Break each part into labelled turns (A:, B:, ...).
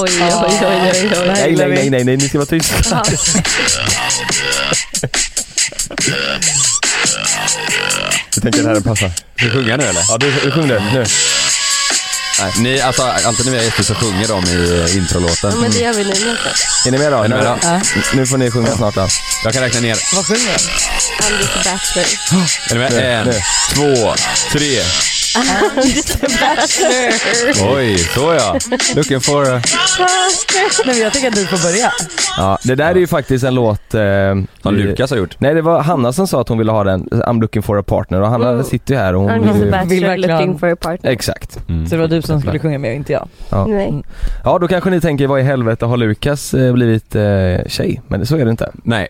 A: Oj, oj, oj, oj, oj.
B: Nej,
C: gillar
B: nej,
C: vi.
B: nej, nej, nej, ni ska vara tysta.
A: Ja.
B: Jag tänker att den här passar.
D: Ska vi sjunga nu eller?
B: Ja, du, du sjung den nu.
D: Nej. Ni, alltså, alltid när vi är gäster så sjunger de i eh, introlåten.
A: Ja, men det gör vi nu nästan.
B: Är ni med då?
D: Är ni med då?
B: Nu, nu får ni sjunga snart då.
D: Jag kan räkna ner.
C: Vad sjunger de?
A: Andy the Bachelor.
D: Är ni med? En,
B: nu.
D: två, tre. Oj, så ja. Looking for...
C: Nej, men jag tycker att du får börja.
B: Ja, det där är ju faktiskt en låt... Eh, i-
D: Som Lukas har gjort.
B: Nej, det var Hanna som sa att hon ville ha den, I'm looking for a partner och Hanna
A: Mm.
B: sitter ju här och hon
A: I'm the
B: vill ju...
C: Vill
A: Bachelor
C: verkligen-
A: looking for a partner.
B: Exakt.
D: Mm.
C: Så det var du som skulle sjunga med och inte jag.
B: Ja.
A: Nej.
B: ja, då kanske ni tänker vad i helvete har Lukas eh, blivit eh, tjej? Men det- så är det inte.
D: Nej.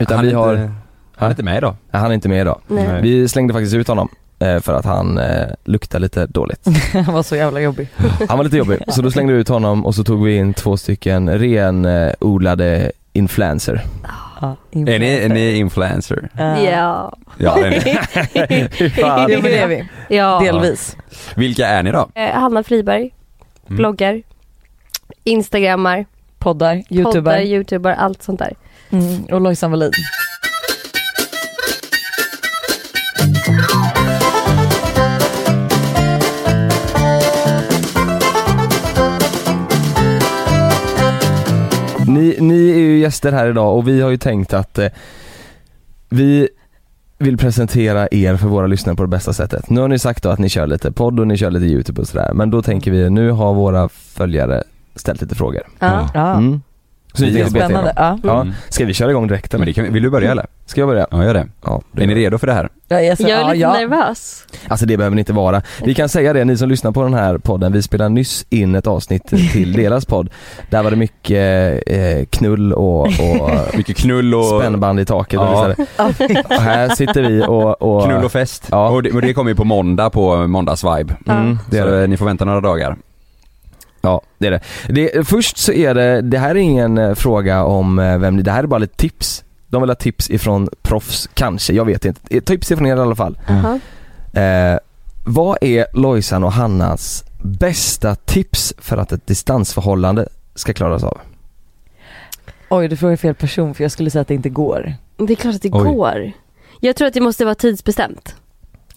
B: Utan
D: han
B: vi
D: är
B: har...
D: Inte, han är inte med idag.
B: Nej, han är inte med idag.
A: Nej.
D: Nej.
B: Vi slängde faktiskt ut honom eh, för att han eh, luktade lite dåligt.
C: Han var så jävla jobbig.
B: Han var lite jobbig, så då slängde vi ut honom och så tog vi in två stycken renodlade influencer.
C: Ja,
D: Är ni, är ni influencer?
C: Ja.
A: Ja.
D: Ja, det är ni.
C: Ah. Ja,
B: Fan.
C: men det är vi.
A: ja.
C: Delvis.
D: Vilka är ni då?
A: Eh, Hanna Friberg,
D: Mm.
A: bloggar, instagrammar,
C: Poddar,
A: poddar,
C: youtuber.
A: youtuber, allt sånt där.
C: Mm, och Lojsan Wallin.
B: Ni, ni är ju gäster här idag och vi har ju tänkt att eh, vi vill presentera er för våra lyssnare på det bästa sättet. Nu har ni sagt då att ni kör lite podd och ni kör lite youtube och sådär men då tänker vi nu har våra följare ställt lite frågor.
A: Ja.
C: Ja.
B: Mm. Så ni
D: Det är
B: tänker beta
C: Spännande.
B: igenom.
C: Ja.
B: Ja.
D: Mm.
B: Ska vi köra igång direkt
D: Men
B: eller?
D: det kan, vill du börja eller?
B: Ska jag börja?
D: Ja, gör det.
B: Ja, det
D: Är
B: gör
D: ni
B: jag.
D: redo för det här?
C: Jag är, så,
A: Jag är
C: Alltså, ja,
A: lite
C: ja.
A: nervös.
B: Alltså det behöver ni inte vara. Vi kan säga det, ni som lyssnar på den här podden, vi spelar nyss in ett avsnitt till deras podd. Där var det mycket eh, knull och, och
D: Mycket knull och...
B: spännband i taket och
D: Ja.
B: så vidare. Och här sitter vi och, och
D: Knull och fest.
B: Ja.
D: Och, det, och det kommer ju på måndag på måndagsvibe.
B: mm, det är
D: så
B: det.
D: eh, ni får vänta några dagar.
B: Ja, det är det. det. Först så är det, det här är ingen eh, fråga om eh, vem ni, det här är bara lite tips. De vill ha tips ifrån proffs, kanske, jag vet inte. Eh, Tips ifrån er i alla fall.
D: Mm.
A: Jaha.
B: Eh, vad är Lojsan och Hannas bästa tips för att ett distansförhållande ska klaras av?
C: Oj, du frågar fel person för jag skulle säga att det inte går.
A: Det är klart att det
D: Oj.
A: går. Jag tror att det måste vara tidsbestämt.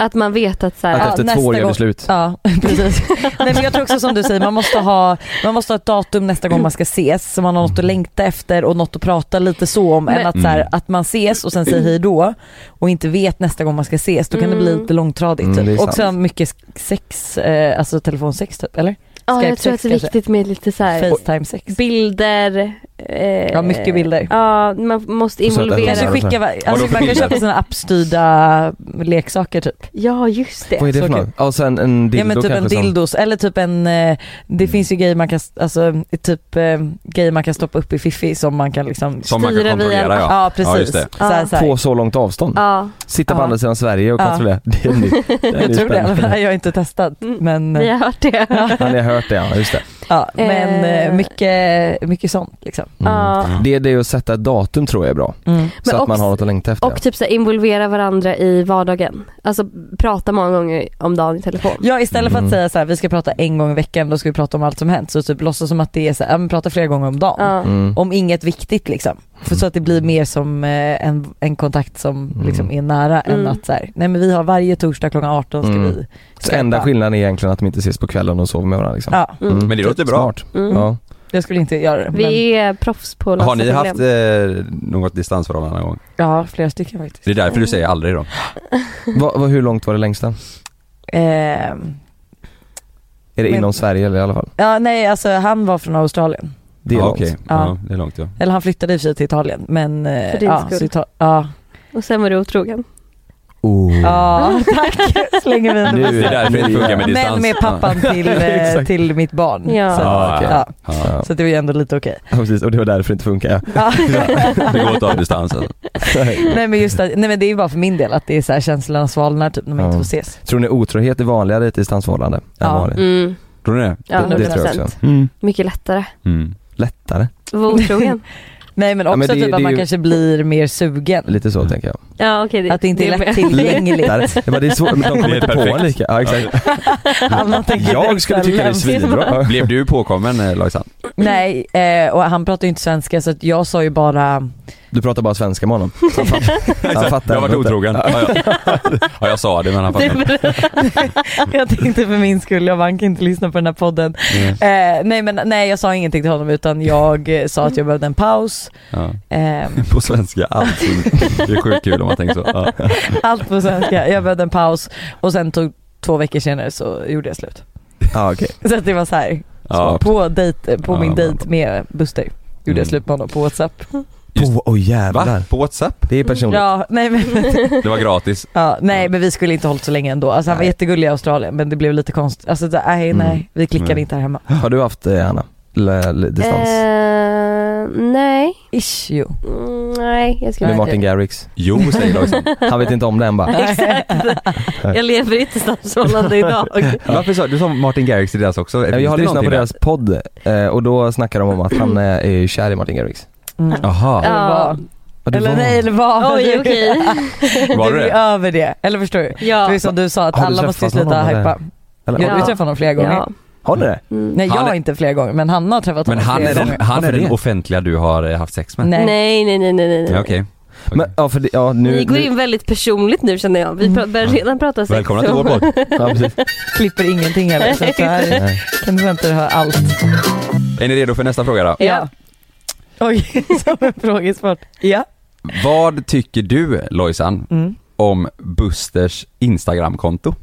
A: Att man vet att så här,
B: Att
C: Ja,
B: efter
C: nästa
B: två år gör
C: gång.
B: det slut.
C: Ja, precis. Nej men jag tror också som du säger, man måste ha, man måste ha ett datum nästa gång man ska ses så man har något att längta efter och något att prata lite så om
A: Men-
C: än att, så här,
D: Mm.
C: att man ses och sen säger hej då och inte vet nästa gång man ska ses, då kan det bli
A: Mm.
C: lite långtradigt.
B: Mm, det är
C: Typ.
B: sant.
C: och sen mycket sex, eh, alltså telefonsex typ, eller?
A: ja, jag
C: Skype
A: tror
C: sex
A: att det är
C: kanske.
A: viktigt med lite så här,
C: Facetime-sex.
A: bilder. Eh,
C: Ja mycket bilder.
A: Ja, man måste
B: Och så att det-
A: involvera.
C: Kanske
B: Ja,
C: skicka, alltså,
D: för
C: man kan
D: bilder?
C: köpa sina appstyrda leksaker typ.
A: Ja, just det.
B: Vad är det
C: Så
B: för
C: kul.
B: något? Ja, sen en dildo
C: ja men typ en
B: kanske som- Mm.
C: dildos eller typ en, eh, det finns ju grejer man kan, alltså typ eh, grejer man kan stoppa upp i fiffi som man kan liksom
D: Som man kan
A: Styra via-
D: kontrollera ja.
C: Ja
D: just
C: precis.
D: det.
C: så här, så här.
B: På så långt avstånd?
A: Ja,
B: Sitta på
C: Ja.
B: andra sidan Sverige och
C: Ja.
B: kontrollera? Det är nytt. Det är
C: Jag
B: nytt
C: tror det i alla
B: spännande.
C: fall. Jag har inte testat
A: Mm.
C: men,
A: ni har hört det. Ja.
B: Ja, ni har hört det ja, just det.
C: ja, men
A: Eh.
C: eh, mycket, mycket sånt liksom.
B: Mm.
A: Ja.
B: Det är det att sätta ett datum tror jag är bra. så
A: Men
B: att man
A: också-
B: har något att längta efter.
A: Och typ så här, involvera varandra i vardagen. Alltså prata många gånger om dagen i telefon.
C: Ja istället för
B: Mm.
C: att säga så här, vi ska prata en gång i veckan, då ska vi prata om allt som hänt. Så typ låtsas som att det är så här, ja, men prata flera gånger om dagen.
A: Ja.
B: mm.
C: Om inget viktigt liksom. För så att det blir mer som eh, en, en kontakt som
B: Mm.
C: liksom är nära än
A: Mm.
C: att så här, nej men vi har varje torsdag klockan 18 ska
B: Mm.
C: vi
B: Så enda
C: skypa.
B: skillnaden är egentligen att de inte ses på kvällen och sover med varandra liksom.
C: Ja,
A: Mm.
D: Men det låter bra.
B: Smart.
A: Mm.
B: Ja.
C: jag skulle inte göra det. Men,
A: Vi är proffs på att
D: Har
A: lösa
D: ni
A: problem.
D: haft eh, något distansförhållande någon gång?
C: ja flera stycken faktiskt.
D: Det är därför du säger aldrig då?
B: Va, va, hur långt var det längsta?
C: Ehm,
B: Är det
C: Men-
B: inom Sverige eller i alla fall?
C: ja nej alltså han var från Australien.
B: Det är
D: ja,
B: långt.
D: okej.
C: Ja.
D: Ja, det är långt ja.
C: Eller han flyttade i och för sig till Italien men... eh,
A: För din
C: ja,
A: skull.
C: så Ita- ja.
A: Och sen var du otrogen.
B: Oh.
C: ja, tack. Slänger vi
B: Nu är
C: under
D: Det är därför det inte funkar med distans.
C: Men med pappan till, eh,
B: Exakt. Ah,
C: till mitt barn.
A: Ja.
C: Så,
D: Ja,
C: att-
D: okej.
C: ja.
D: Ja.
C: så det var ju ändå lite okej.
B: Ja, precis, och det var därför det inte funkar.
C: Ja.
D: Ja. Det går att ta distans alltså.
C: nej men just det, nej men det är ju bara för min del att det är så här känslorna svalnar typ när man
B: Ja.
C: inte får ses.
B: Tror ni otrohet är vanligare i ett distansförhållande? än
C: Ja.
B: vanligt?
A: Mm.
D: Tror ni det?
A: Ja,
B: det, det tror jag
A: 100%.
B: också.
D: Mm.
A: Mycket lättare.
D: Mm.
B: Lättare?
A: Var otrogen.
C: Nej men
B: Ja,
C: också
B: men det-
C: typ att
B: det är
C: man
B: ju-
C: kanske blir mer sugen.
B: Lite
D: Mm.
B: så tänker jag.
A: Ja okej.
C: Att det inte är
A: med.
C: lättillgängligt.
B: Lättare. Jag bara, det är svårt, men de
D: Det
B: kommer
D: är
B: inte på
D: perfekt.
B: en lika. Ja, exakt.
C: Alla tänker
B: Jag
C: direkt
B: skulle
C: så här,
B: tycka det är
C: lämna-
B: svinbra.
D: Blev du påkommen eh, Lojsan?
C: Nej, eh, och han pratar ju inte svenska så att jag sa ju bara
B: Du pratar bara svenska med honom. Han fattar- Han fattar
D: Jag har varit
B: ändå inte.
D: otrogen. Ja, ja. ja, jag sa det men han fattade inte.
C: jag tänkte för min skull, jag vann inte lyssna på den här podden.
D: Mm.
C: Eh, nej men nej jag sa ingenting till honom utan jag eh, sa att jag behövde en paus.
D: Ja.
C: Eh,
D: På svenska, allt. Det är sjukt kul om man tänker så. Ja.
C: allt på svenska, jag behövde en paus och sen tog två veckor senare så gjorde jag slut.
B: Ja, okej.
C: Så att det var så här,
D: Ja.
C: på, dejt, eh, på
D: Ja,
C: min
D: men-
C: dejt med Buster gjorde
D: Mm.
C: jag slut med honom på WhatsApp.
D: Just-
B: På, oj
D: Va?
B: jävlar.
D: På Whatsapp?
B: Det är personligt.
C: Ja, nej, men,
D: Det var gratis.
C: ja, nej men vi skulle inte hållit så länge ändå. Alltså, han var
B: Nej.
C: jättegullig i Australien men det blev lite konstigt. Alltså, det- nej,
B: Mm.
C: nej, vi klickade
D: Nej.
C: inte här hemma.
B: Har du haft eh, Hanna? L- l- distans?
A: Eh, nej.
C: Ish, jo.
A: Mm, nej, jag skulle
B: Med
A: inte.
B: Martin Garrix?
D: Jo, säger Lojsan.
B: Han vet inte om det än bara.
A: Exakt. Jag lever i ett distansförhållande idag.
D: Varför sa du sa Martin Garrix till deras också?
B: Nej,
D: Finns
B: Jag har
D: det
B: lyssnat på
D: någonting
B: deras podd eh, och då snackar de om att han eh, är kär i Martin Garrix.
C: Mm.
D: där? Jaha,
C: Eller
A: Ja.
C: vad?
B: Ja, det
C: Eller
B: var-
C: nej, eller vad?
A: Oj okej.
D: var
C: du
D: det
C: är
D: det?
C: över det, eller förstår du? Det är
A: Ja.
C: som du sa, att
B: Har du
C: alla måste ju
B: träffat
C: sluta
B: honom,
C: hypa.
B: Eller,
C: Jag har
A: Ja.
C: träffat honom flera gånger.
A: ja.
B: Har ni det?
A: Mm.
C: Nej jag
D: Han är-
C: har inte flera gånger, men han har träffat
D: Men
C: honom
D: han
C: flera
D: är
C: gånger.
D: den, han är
B: Varför
D: den
B: det?
D: offentliga du har eh, haft sex med?
C: Nej.
A: Nej nej nej nej nej. nej.
D: Ja, Okej.
B: Men, ja, för det, ja, nu,
A: Ni går
B: nu-
A: in väldigt personligt nu känner jag. Vi pra- börjar redan prata sex.
D: Välkomna till vår podd.
B: Ja, precis.
C: Klipper ingenting heller. Så att det här är-
B: Nej.
C: kan du vänta dig höra allt.
D: Är ni redo för nästa fråga då?
A: Ja.
C: Oj, som en frågesport. Ja.
D: Vad tycker du Lojsan
C: Mm.
D: om Busters Instagramkonto?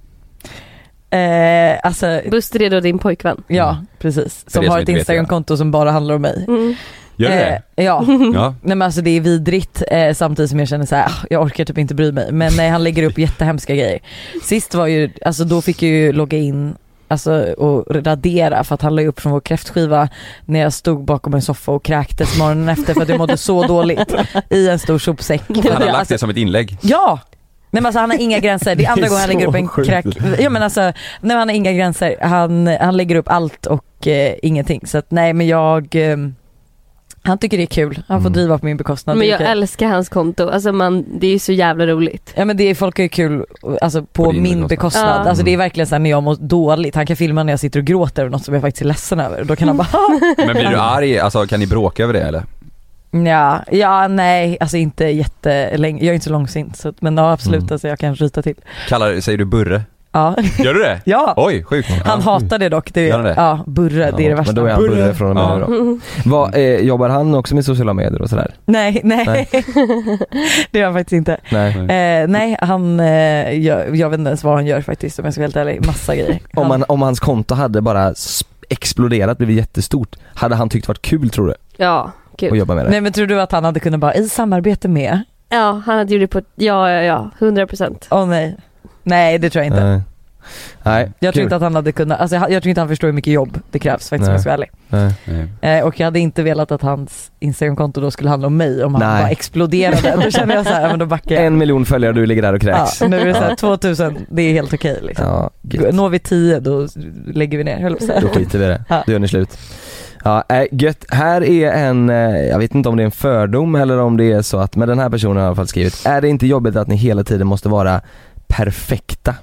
C: Eh, alltså,
A: Buster är då din pojkvän.
C: ja precis.
D: För
C: Som
D: det som
C: har ett
D: inte vet,
C: Instagramkonto som bara handlar om mig.
A: Mm.
D: Gör du det?
C: Eh, ja.
D: Ja.
C: Nej men alltså det är vidrigt eh, samtidigt som jag känner så här, ah, jag orkar typ inte bry mig. Men nej, han lägger upp jättehemska grejer. Sist var ju, alltså då fick jag ju logga in Alltså och radera för att han la ju upp från vår kräftskiva när jag stod bakom en soffa och kräktes morgonen efter för att jag mådde så dåligt i en stor sopsäck. Alltså, För
D: Han
C: att
D: har
C: jag-
D: lagt det som ett inlägg.
C: Ja! Nej men alltså han har inga gränser, det är andra
B: Det är
C: gången han lägger
B: så
C: upp en
B: sjukt.
C: kräk... Ja men alltså, nej men han har inga gränser. Han, han lägger upp allt och eh, ingenting. Så att nej men jag, eh, han tycker det är kul. Han får
B: Mm.
C: driva på min bekostnad.
A: Men
C: Det är
A: jag
C: okej.
A: älskar hans konto. Alltså man, det är ju så jävla roligt.
C: Ja men det är, folk har ju kul alltså, på,
D: På din
C: min
D: bekostnad.
C: bekostnad.
A: Ja.
C: Alltså det är verkligen såhär när jag mår dåligt, han kan filma när jag sitter och gråter över något som jag faktiskt är ledsen över. Då kan han bara
D: Men blir du arg, alltså kan ni bråka över det eller?
C: Mm, ja, ja nej alltså inte jättelänge, jag är inte så långsint så, att- men ja absolut
B: Mm.
C: alltså jag kan ryta till.
D: Kallar, säger du Burre?
C: Ja,
D: Gör du det?
C: ja.
D: Oj, sjukt.
C: han hatar det dock. Det
D: Gör
C: är,
D: han det?
C: Ja, burra det är det
B: Ja,
C: värsta.
B: Men då är han burre från och med
D: Ja.
B: nu då.
C: Mm.
B: Vad, eh, jobbar han också med sociala medier och sådär?
C: Nej, nej.
B: Nej. Mm.
C: det gör han faktiskt inte.
B: Nej.
C: Eh, nej, han, eh, jag, jag vet inte ens vad han gör faktiskt om jag ska vara helt ärlig. Massa grejer.
B: Om,
C: Han,
B: han, om hans konto hade bara sp- exploderat, blivit jättestort, hade han tyckt varit kul tror du?
A: Ja,
B: Att
A: kul.
B: jobba med det?
C: nej men tror du att han hade kunnat bara, i samarbete med?
A: Ja, han hade gjort det på, ja ja ja, 100 procent.
C: Åh nej. Nej det tror jag inte.
B: Nej. Nej,
C: Jag tror
B: kul.
C: inte att han hade kunnat, alltså jag, jag tror inte han förstår hur mycket jobb det krävs faktiskt om
B: Nej.
C: jag ska vara ärlig.
B: Nej.
D: Nej.
C: Eh, och jag hade inte velat att hans instagramkonto då skulle handla om mig om han
B: Nej.
C: bara exploderade. då känner jag så här, ja, men då backar jag.
B: En miljon följare och du ligger där och
C: Ja,
B: kräks.
C: nu är det så här, 2000, det är helt okej liksom.
B: Ja, gött.
C: Når vi 10 då lägger vi ner, höll jag på att säga.
B: Då skiter vi i det.
C: Ja.
B: Då gör ni slut. Ja, äh, gött. Här är en, eh, jag vet inte om det är en fördom eller om det är så att, men den här personen har i alla fall skrivit, är det inte jobbigt att ni hela tiden måste vara perfekta?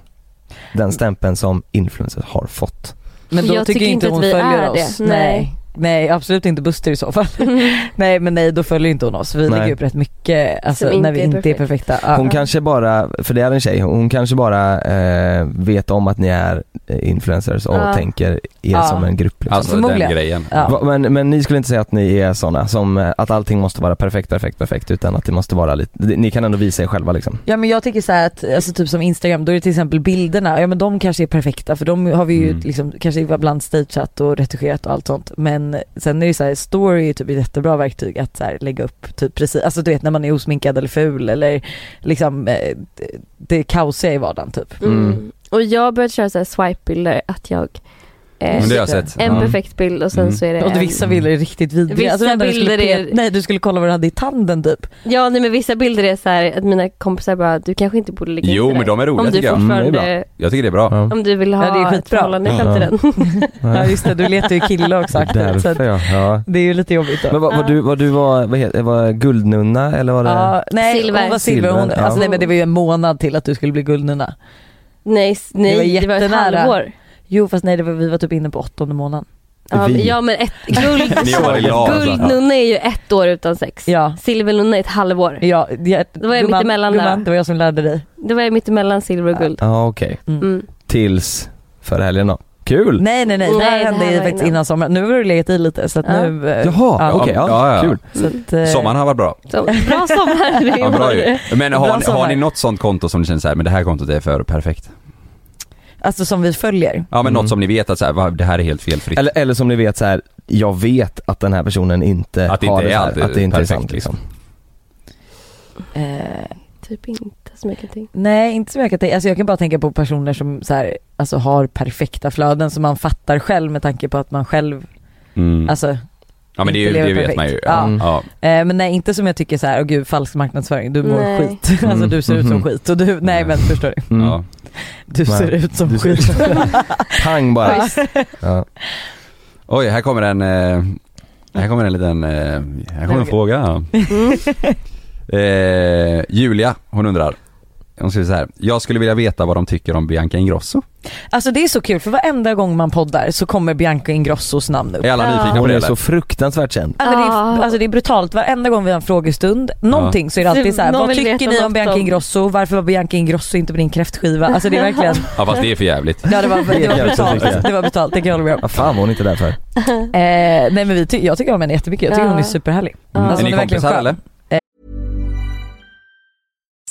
B: Den stämpeln som influencers har fått.
C: Men då
A: Jag
C: tycker, inte hon
A: att vi
C: följer
A: är
C: oss.
A: det. Nej. Mm.
C: Nej absolut inte Buster i så fall. nej men nej då följer inte hon oss. Vi
B: Nej.
C: lägger upp rätt mycket alltså,
A: Som inte
C: när vi
A: är
C: inte är perfekta. Ja.
B: Hon kanske bara, för det är en tjej, hon kanske bara eh, vet om att ni är eh, influencers och
A: Ja.
B: tänker er
C: Ja.
B: som en grupp. Liksom.
D: Alltså den
C: Förmodligen.
D: grejen.
C: Ja.
B: Va- Men, men ni skulle inte säga att ni är såna som, eh, att allting måste vara perfekt, perfekt, perfekt utan att det måste vara lite, ni kan ändå visa er själva liksom.
C: Ja men jag tycker så här att, alltså typ som Instagram, då är det till exempel bilderna, ja men de kanske är perfekta för de har vi ju
D: Mm.
C: liksom, kanske ibland stageat och redigerat och allt sånt. Men sen är det så här, story är ju typ ett jättebra verktyg att så här, lägga upp typ precis, alltså du vet när man är osminkad eller ful eller liksom eh, det, det kaosiga i vardagen typ.
A: Mm.
B: Mm.
A: Och jag har börjat köra så här swipe-bilder att jag eh,
D: Men det har jag sett.
A: en
D: Ja.
A: perfekt bild och sen
D: Mm.
A: så är det
C: Och
A: en...
C: Eh, vissa bilder är riktigt vidriga.
A: Vissa
C: det enda du skulle
A: bilder är-
C: peta- Nej du skulle kolla vad du hade i tanden typ.
A: Ja nej men vissa bilder är så här att mina kompisar bara, du kanske inte borde ligga
D: Jo
A: efter
D: men
A: det
D: de är
A: här. Om
D: roliga
A: du
D: tycker jag.
B: Mm, det är
A: fortfarande,
D: Jag tycker det är bra.
B: Ja.
A: om du vill ha
C: Ja, det är
A: ett
C: skitbra.
A: förhållande i
B: Ja.
A: framtiden.
C: Ja just det, du letar ju kille också aktivt. Så att
B: Därför ja. ja.
C: det är ju lite jobbigt då.
B: Men vad, vad du, vad du var, vad heter, var guldnunna eller var det?
C: Ja, nej,
A: Silver.
C: hon var silver. Hon,
B: Silver, ja.
C: alltså, nej, men det var ju en månad till att du skulle bli guldnunna.
A: Nej, s- nej det var, ett
C: jättenära.
A: halvår.
C: Jo fast nej, det var, vi var typ inne på åttonde månaden.
A: Ja,
B: Vi.
A: men- ja men ett, guld,
D: Ni jobbar i lag alltså.
A: guldnunna är ju ett år utan sex.
C: Ja.
A: Silvernunna är ett halvår.
C: Ja, jag,
A: Då var jag
C: gumman-
A: mittemellan där.
C: gumman, Det var jag som lärde dig.
A: Det var ju mittemellan silver och guld.
B: Ja okej.
A: Mm.
B: Tills förra helgen då. Kul!
C: Nej nej nej, det
A: Nej,
C: här
A: det
C: hände
A: här
C: ju
A: var
C: faktiskt
A: innan.
C: innan sommaren. Nu har du legat i lite så att
A: Ja.
C: nu... eh,
B: Jaha,
C: ja.
B: okej, ja,
D: Ja, ja.
B: kul.
C: Så att, eh,
D: Sommaren har varit bra.
A: Så, bra sommar.
D: Ja, bra ju. Men
C: Bra
D: har, ni- har
C: sommar.
D: ni något sånt konto som ni känner så här, men det här kontot är för perfekt?
C: Alltså som vi följer.
D: Ja men
B: Mm.
D: något som ni vet att så här, va, det här är helt felfritt.
B: Eller, eller som ni vet så här, jag vet att den här personen inte
D: Att det
B: har
D: inte
B: det
D: är
B: så här,
D: alltid
B: att det inte är
D: perfekt,
B: sant liksom.
C: Eh,
A: Typ inte så mycket ting.
C: nej inte så mycket. att- Alltså jag kan bara tänka på personer som så här, alltså, har perfekta flöden som man fattar själv med tanke på att man själv,
D: Mm.
C: alltså
D: ja men det, är ju-
C: inte lever
D: det vet
C: perfekt.
D: man ju.
C: Ja.
B: Mm.
D: Ja.
C: Eh, men nej inte som jag tycker så här, åh gud falsk marknadsföring, du mår
A: Nej.
C: skit. Alltså
B: Mm.
C: du ser ut som
B: Mhm.
C: skit och du, nej men förstår du.
B: Mm.
D: Ja.
C: Du
B: Nej.
C: ser ut som
B: Du ser
C: skit.
B: Pang bara. Ja.
D: Oj, här kommer en, eh, här kommer en liten, eh, här kommer en fråga.
A: Mm.
D: Eh, Julia, hon undrar. Hon skriver så här. Jag skulle vilja veta vad de tycker om Bianca Ingrosso.
C: Alltså det är så kul för varenda gång man poddar så kommer Bianca Ingrossos namn upp.
D: Är alla
A: Ja.
D: nyfikna på
B: Hon
D: det
B: är så
D: eller?
B: fruktansvärt känd.
C: Alltså det,
A: Ja.
C: är, alltså det är brutalt, varenda gång vi har en frågestund, någonting så är det alltid så här,
A: Någon
C: vad
A: vill
C: tycker
A: veta
C: ni om
A: något
C: Bianca
A: om-
C: Ingrosso? Varför var Bianca Ingrosso inte på din kräftskiva? Alltså det är verkligen,
D: Ja fast det är för jävligt.
C: ja det var, det var
B: jävligt tycker jag.
C: brutalt, det var brutalt, det kan jag hålla med om.
B: Vad fan var hon inte där för?
C: Eh, nej men vi ty- jag tycker om henne jättemycket, jag tycker
A: Ja. Mm.
C: hon är superhärlig.
A: Ja.
C: Alltså,
D: Är
C: hon
D: ni
C: verkligen
D: kompisar
C: skön.
D: eller?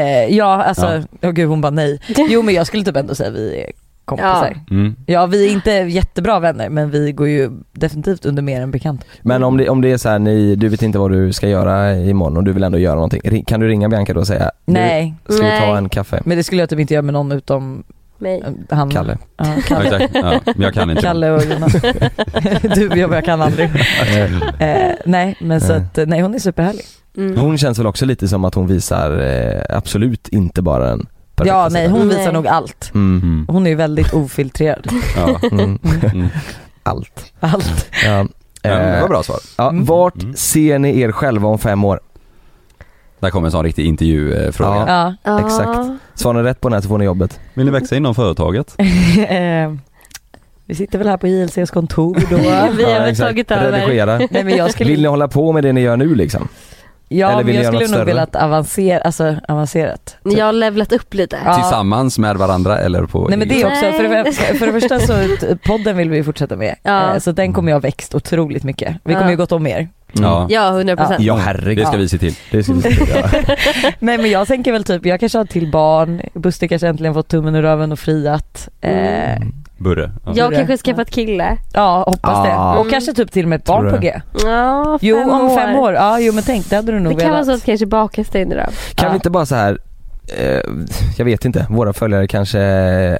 C: Eh, ja alltså,
D: Ja.
C: åh gud hon bara nej. Jo men jag skulle typ ändå säga vi är kompisar. Ja.
D: Mm.
C: vi är inte jättebra vänner men vi går ju definitivt under mer än bekant.
B: Men om det, om det är så här, ni, du vet inte vad du ska göra imorgon och du vill ändå göra någonting. Ring- Kan du ringa Bianca då och säga
C: Nej.
B: "Du, Ska vi ta
A: Nej.
B: en kaffe?
C: Men det skulle jag typ inte göra med någon utom
A: Mig.
C: eh, han
B: Kalle.
C: Ja,
D: Ja,
C: Kalle.
D: exakt. Ja, men jag kan inte.
C: Kalle och Jonas. du, jag, jag kan aldrig.
D: Mm.
C: Eh, nej men så
B: Nej.
C: att, eh, nej hon är superhärlig.
A: Mm.
B: Hon känns väl också lite som att hon visar eh, absolut inte bara den perfekta
C: Ja nej hon
A: Nej.
C: visar nog allt.
B: Mm.
D: Mm.
C: Hon är ju väldigt ofiltrerad.
D: Ja.
B: Mm.
D: Mm.
B: Allt.
C: Allt.
B: Ja.
D: Ja, men det
B: Eh,
D: var bra svar.
B: Ja,
C: Mm.
B: Vart
D: Mm.
B: ser ni er själva om fem år?
D: Där kommer en sån riktig intervjufråga.
B: Ja.
C: Ja.
A: Ja.
B: exakt. Svarar ni rätt på den här så får ni jobbet.
D: Vill ni växa inom företaget?
C: Eh, vi sitter väl här på JLCs kontor då.
A: Vi har
B: Ja,
A: väl
B: exakt.
A: tagit över.
B: Redigera.
C: nej men jag skulle
B: Vill ni hålla på med det ni gör nu liksom?
C: Ja,
B: Eller vill
C: men
B: ni
C: jag
B: göra något
C: skulle nog
B: större?
C: velat avancera, alltså avancerat. typ.
A: Jag har levlat upp lite.
C: Ja.
D: Tillsammans med varandra eller på
C: Nej men det
D: egen-
C: också, för det,
A: Nej.
C: för det första så t- podden vill vi ju fortsätta med.
A: Ja.
C: Eh, Så den kommer jag ha växt otroligt mycket. Vi kommer
A: Ja.
C: ju gått om mer.
D: Ja.
A: Ja, 100 procent.
B: Ja
D: Det
B: herregud.
D: ska vi se till.
B: Det ska vi se till. Ja.
C: Nej men jag tänker väl typ, jag kanske har till barn, Buster kanske äntligen fått tummen ur röven och friat. Eh,
A: Mm.
D: Burre. Ja.
A: Jag
C: det.
A: kanske skaffat kille.
C: ja hoppas
B: Ah.
C: det. Och kanske typ till och med ett
B: Tror
C: barn
B: du
C: på
B: det?
C: G.
A: Ja,
C: Jo om fem år, ja jo men tänk det hade du
A: Det
C: nog
A: kan vara
C: velat.
A: så att kanske bakas in i det.
B: Kan
C: Ja.
B: vi inte bara så här eh, jag vet inte, våra följare kanske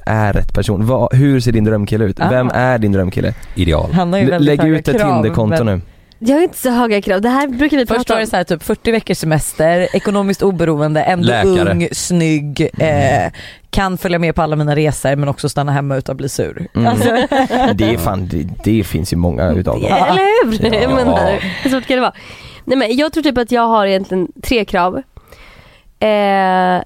B: är rätt person. Vad- hur ser din drömkille ut?
C: Ah.
B: Vem är din drömkille?
D: Ideal.
C: Han har ju
B: L-
C: väldigt
B: lägg
C: höga
B: ut ett
C: krav,
B: Tinderkonto
C: men-
B: nu.
A: Jag har inte så höga krav. Det här brukar vi
C: Först
A: prata
C: var
A: om.
C: det så här, typ 40 veckors semester, ekonomiskt oberoende, ändå
D: Läkare.
C: ung, snygg, eh, kan följa med på alla mina resor men också stanna hemma utan bli sur.
B: Mm.
C: Alltså,
B: Det, är fan, det, det finns ju många utav dem.
C: Ja.
A: Eller hur?
B: Ja.
A: Jag menar, hur svårt kan det vara? Nej, men jag tror typ att jag har egentligen tre krav. Eh,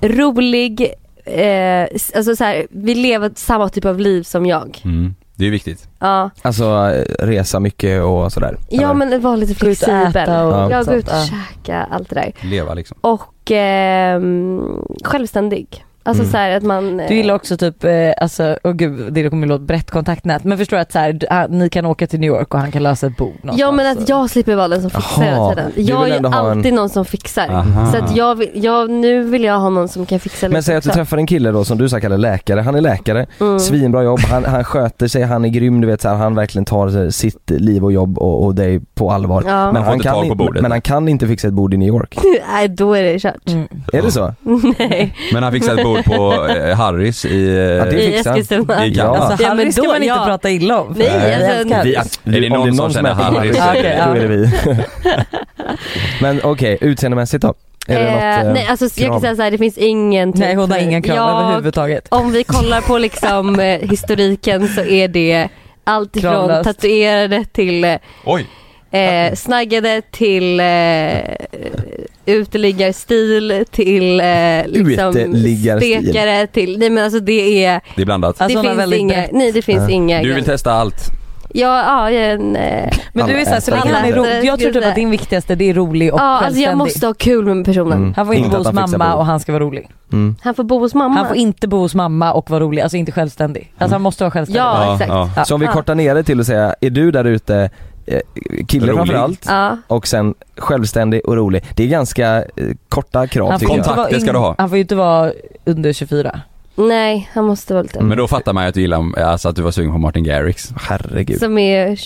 A: rolig, eh, alltså så här, vi lever samma typ av liv som jag.
D: Mm. Det är viktigt.
A: Ja,
B: Alltså eh, resa mycket och sådär.
A: ja
B: Eller?
A: men vara lite
C: Gå ut och
A: flexibel.
C: äta och
A: Ja,
C: sånt,
A: gå ut och
C: ja.
A: käka, allt det där.
D: Leva liksom.
A: Och ehm, självständig. Alltså
B: Mm.
A: så här att man... eh,
C: Du gillar också typ, eh, alltså, åh gud det kommer låta brett kontaktnät men förstår du att så här, d- ah, ni kan åka till New York och han kan lösa ett bord någonstans. alltså.
A: Ja men att jag slipper vara den som fixar
B: Jaha,
A: hela tiden.
B: du
A: Jag
B: vill
A: är ju
B: ändå ha en-
A: alltid någon som fixar.
D: Aha.
A: Så att jag, vill, jag, nu vill jag ha någon som kan fixa
B: Men säg att du
A: också.
B: träffar en kille då som du sa kallar läkare, han är läkare,
A: Mm.
B: svinbra jobb, han, han sköter sig, han är grym, du vet så här, han verkligen tar så här, sitt liv och jobb och, och dig på allvar.
A: Ja.
B: Men,
D: får
B: han
D: inte
B: kan
D: tag på
B: inte,
D: bordet.
B: men han kan inte fixa ett bord i New York.
A: Nej då är det kört.
C: Mm.
B: Är det så?
A: Nej.
D: Men han fixade ett bord på eh, Harrys i... eh,
B: Ja, det-
A: I
B: fixar
A: Eskilstuna.
D: i Kalmar.
B: Ja.
C: Alltså
A: Ja,
C: Harry
A: men
C: ska
A: då,
C: man inte
A: ja.
C: prata illa om.
A: Nej,
C: Jag
A: alltså,
C: älskar Harry.
B: Vi,
D: Är det någon som känner
B: äter
D: Harry?
B: Harrys,
C: Ja, okej, ja.
B: Då är det vi. men okej, utseendemässigt då? Är det något,
A: Eh,
B: eh,
A: nej alltså jag
B: krav?
A: kan säga såhär, det finns ingen typ.
C: Nej hon har inga krav
A: Jag-
C: överhuvudtaget.
A: Om vi kollar på liksom eh, historiken så är det allt ifrån
C: Kravlöst.
A: tatuerade till eh,
D: Oj!
A: Eh, snaggade till eh, uteliggarstil till eh, liksom
B: Uteliggarstil.
A: stekare till, nej men alltså det är,
D: Det är blandat.
C: Alltså, hon
A: det
C: har
A: finns
C: väldigt
A: inga,
C: brett.
A: nej det finns
B: Ja.
A: inga
D: Du vill
A: gränser.
D: testa allt.
A: Ja, ja, jag är en, eh,
C: Men du är såhär, så
B: Alla
C: länge han är
A: äter.
C: rolig. Jag tror typ att din viktigaste det är rolig och
A: ja alltså
C: självständig.
A: jag måste ha kul med personen.
B: Mm.
C: Han får inte,
B: Inte
C: bo
B: att
C: hos
B: han fixar
C: mamma
B: bord.
C: och han ska vara rolig.
B: Mm.
A: Han får bo hos mamma.
C: Han får inte bo hos mamma och vara rolig, alltså inte självständig. Alltså
B: Mm.
C: han måste vara självständig.
A: Ja, exakt.
C: Ja.
B: Så om vi
A: Ja.
B: kortar ner det till att säga, är du där ute, eh, kille
D: Rolig.
B: framförallt,
A: Ja.
B: och sen självständig och rolig. Det är ganska eh, korta krav
C: Han får,
B: tycker
C: inte
B: jag.
D: Kontakt,
C: vara
D: det ska du ha.
C: han får ju inte vara under 24.
A: Nej, han måste vara lite,
B: Mm.
D: Men då fattar man ju att du gillar, alltså att du var sugen på Martin Garrix.
B: Herregud.
A: som är
D: Han